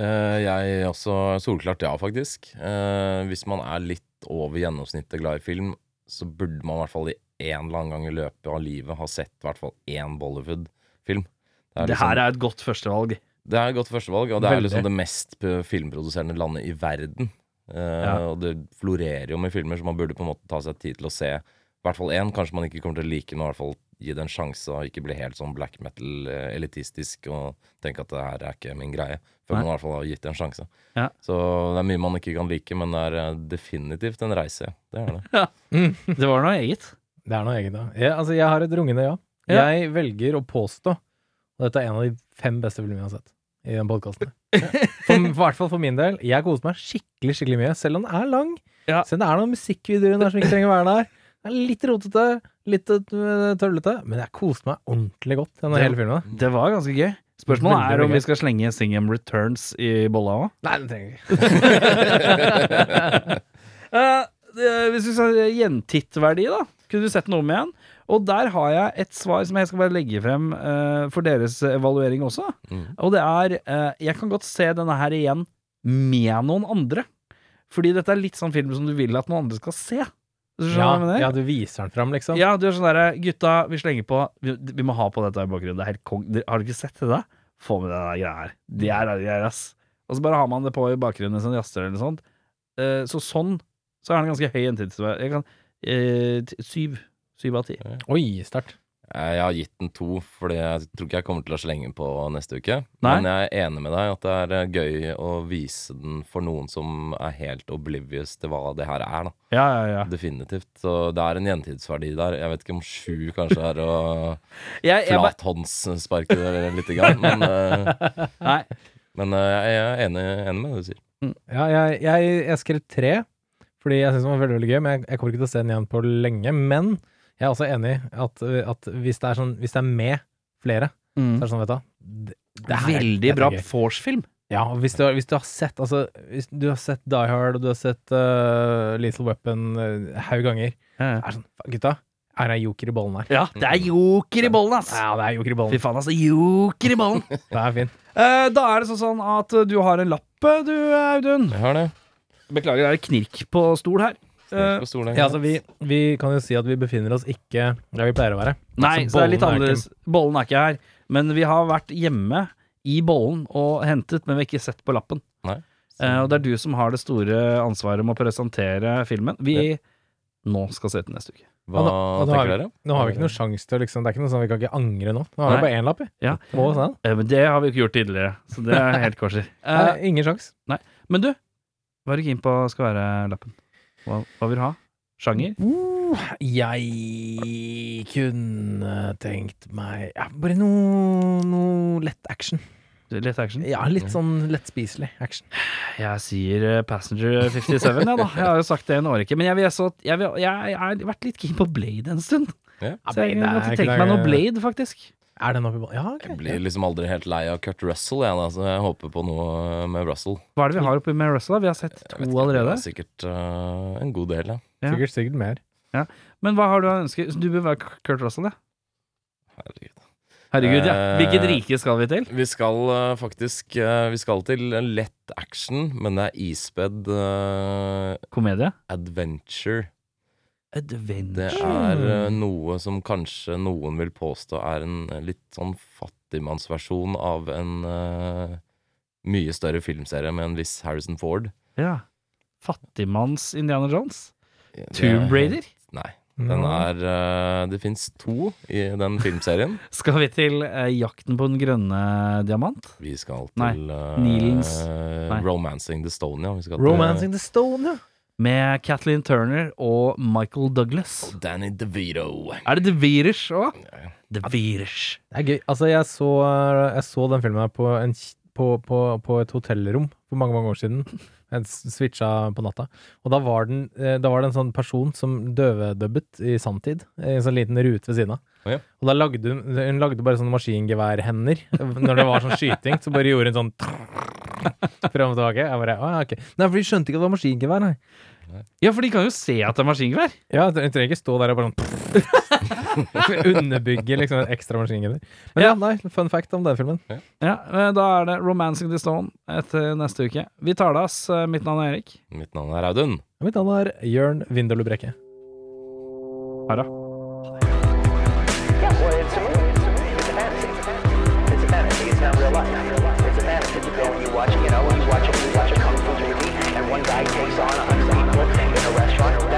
Eh, jeg også solklart ja, faktisk. Eh, hvis man er litt over gjennomsnittet glad i film, så burde man i hvert fall i en eller annen gang i løpet av livet ha sett i hvert fall én Bollywood-film. Det, er Det her liksom, er et godt førstevalg. det er et godt førstevalg, og det er Veldig. liksom det mest p- filmproduserende landet i verden. Eh, Og det florerer jo med filmer, så man burde på en måte ta seg tid til å se i hvert fall én. Kanskje man ikke kommer til å like, men i hvert fall gi det en sjanse, og ikke bli helt sånn black metal-elitistisk og tenke at det her er ikke min greie, før Nei. man i hvert fall har gitt det en sjanse. Ja. Så det er mye man ikke kan like, men det er eh, definitivt en reise. Det er det. Det var noe eget. Det er noe eget, da. Jeg, altså, jeg har et rungende ja. Ja. Jeg velger å påstå, og dette er en av de fem beste filmene jeg har sett i den podkasten. I hvert fall for min del. Jeg koser meg skikkelig skikkelig mye, selv om den er lang. Ja. Selv om det er noen musikkvideoer der som ikke trenger å være der. Det er litt rotete, litt øh, tøvlete, men jeg koste meg ordentlig godt gjennom Det- hele filmen. Det var ganske gøy. Spørsmålet Veldig, er om veldig vi skal slenge Singham Returns i bolla òg. Nei, den trenger vi ikke. <laughs> Eh, det- hvis vi skal gjentittverdi, da, kunne du sett noe med igjen? Og der har jeg et svar som jeg skal bare legge frem eh, for deres evaluering også. Mhm. Og det er eh, Jeg kan godt se denne her igjen med noen andre. Fordi dette er litt sånn film som du vil at noen andre skal se. Hvis Du skjønner Ja, hva jeg mener? ja, du viser den fram, liksom. Ja, du er sånn derre Gutta, vi slenger på Vi, vi må ha på dette i bakgrunnen. Det er helt kong. Dere- Har du ikke sett det, da? Få med deg den greia her. Det er rare greier, ass. Og så bare har man det på i bakgrunnen som jazzer eller noe sånt. Eh, så sånn så er den ganske høy en tidsvei. Jeg kan eh, t- Syv. Syv av ti. Oi, sterkt. Eh, Jeg har gitt den to, fordi jeg tror ikke jeg kommer til å slenge den på neste uke. Nei. Men jeg er enig med deg at det er eh, gøy å vise den for noen som er helt oblivious til hva det her er. da Ja, ja, ja. Definitivt. Så det er en gjentidsverdi der. Jeg vet ikke om sju kanskje er å Jeg, jeg, bare- flathåndssparke det litt, i gang, men, eh, nei. men eh, jeg er enig, enig med det du sier. Ja, jeg, jeg, jeg skrev tre, fordi jeg syns den var veldig veldig gøy. Men jeg, jeg kommer ikke til å se den igjen på lenge. Men jeg er også enig i at, at hvis, det er sånn, hvis det er med flere, så er det sånn, vet du det, det her Mm. er- dette Veldig er bra gøy. vorspiel. Ja, og hvis du, har- hvis du har sett altså, Hvis du har sett Die Hard, og du har sett uh, Lethal Weapon eh, haug ganger det er sånn, "Faen, Gutta, her er joker i bollen her. Ja, det er joker i bollen, ass! Ja, det er joker i Fy bollen. faen, altså. Joker i <laughs> bollen. Det er fin. Eh, da er det sånn, sånn at eh, du har en lapp, eh, du, Audun. Jeg har det. Beklager, det er knirk på stol her. Eh, På stolen. Ja, altså, vi, vi kan jo si at vi befinner oss ikke der vi pleier å være. Nei, Altså, så det er litt bollen er annerledes. Bollen er ikke her. Men vi har vært hjemme i bollen og hentet, men vi har ikke sett på lappen. Nei. Eh, og det er du som har det store ansvaret med å presentere filmen. Vi nå skal se den neste uke. Hva Og nå- og nå har tenker vi- dere? Nå har vi ikke noen sjanse til å liksom, Det er ikke noe sånn vi kan ikke angre nå. Nå har Nei. vi bare én lapp, vi. Ja. Må vi se den. Eh, men det har vi jo ikke gjort tidligere, så det er helt korser. <laughs> Eh, Nei, ingen sjans. men du, hva er du keen på skal være lappen? Hva, hva vil du ha? Sjanger? Uh, jeg kunne tenkt meg ja, Bare noe, noe lett action. Lett action? Ja, litt sånn lettspiselig action. Jeg sier eh, Passenger 57, jeg, da. Jeg har jo sagt det en årrekke. Men jeg, vil så, jeg, vil, jeg har vært litt keen på Blade en stund. Så jeg måtte tenke meg noe Blade, faktisk. Er den oppi ballen? Ja, ok. Jeg blir liksom aldri helt lei av Kurt Russell, jeg, da, så jeg håper på noe med Russell. Hva er det vi har oppe med Russell? da? Vi har sett Jeg to vet ikke, allerede. det er Sikkert øh, en god del, ja. Ja. Sikkert, sikkert mer. Men hva har du av ønsker? Du bør være Kurt Russell, ja. Herregud. Herregud, ja. Eh, Hvilket rike skal vi til? Vi skal øh, faktisk øh, Vi skal til en lett action, men det er ispedd øh, Komedie? adventure. Det Adventure. er øh, noe som kanskje noen vil påstå er en litt sånn fattigmannsversjon av en øh, mye større filmserie med en viss Harrison Ford. Ja. Fattigmanns Indiana Jones? Det er- Tomb Raider? Nei. Den Mm. er øh, Det fins to i den filmserien. Skal vi til eh, Jakten på den grønne diamant? Vi skal Nei. til eh, Nilens. Nei. Romancing the Stone, ja. Vi skal til- Romancing the Stone, ja. Med Kathleen Turner og Michael Douglas. Danny DeVito. Er det The Virus òg? Ja. The Virus. Det er gøy. Altså, jeg så, jeg så den filmen her på, en, k- på, på, på et hotellrom for mange mange år siden. <laughs> Jeg s- switcha på natta. Og da var, den, eh, da var det en sånn person som døvedubbet i sanntid. I en sånn liten rute ved siden av. Å ja. Og da lagde hun, hun lagde bare sånne maskingeværhender. Når det var sånn skyting, så bare gjorde hun sånn Fram og tilbake. Jeg bare, «Å ja, ok. Nei, for de skjønte ikke at det var maskingevær, nei. Ja, for de kan jo se at det er maskingevær. Ja, du trenger ikke stå der og bare <laughs> sånn Underbygge liksom en ekstra maskingevær. Men ja, nei, fun fact om den filmen. Ja, eh, Da er det 'Romancing the Stone' etter neste uke. Vi tar det, ass. Eh, Mitt navn er Erik. Mitt navn er Audun. Mitt navn er Jørn Vindølu Brekke. Ha det. Yeah, well, it's a movie. It's a fantasy. It's a fantasy. It's not real life. It's a fantasy. You go and you watch, you know, you watch, you watch a kung fu movie, and one guy takes on a hundred people in a restaurant.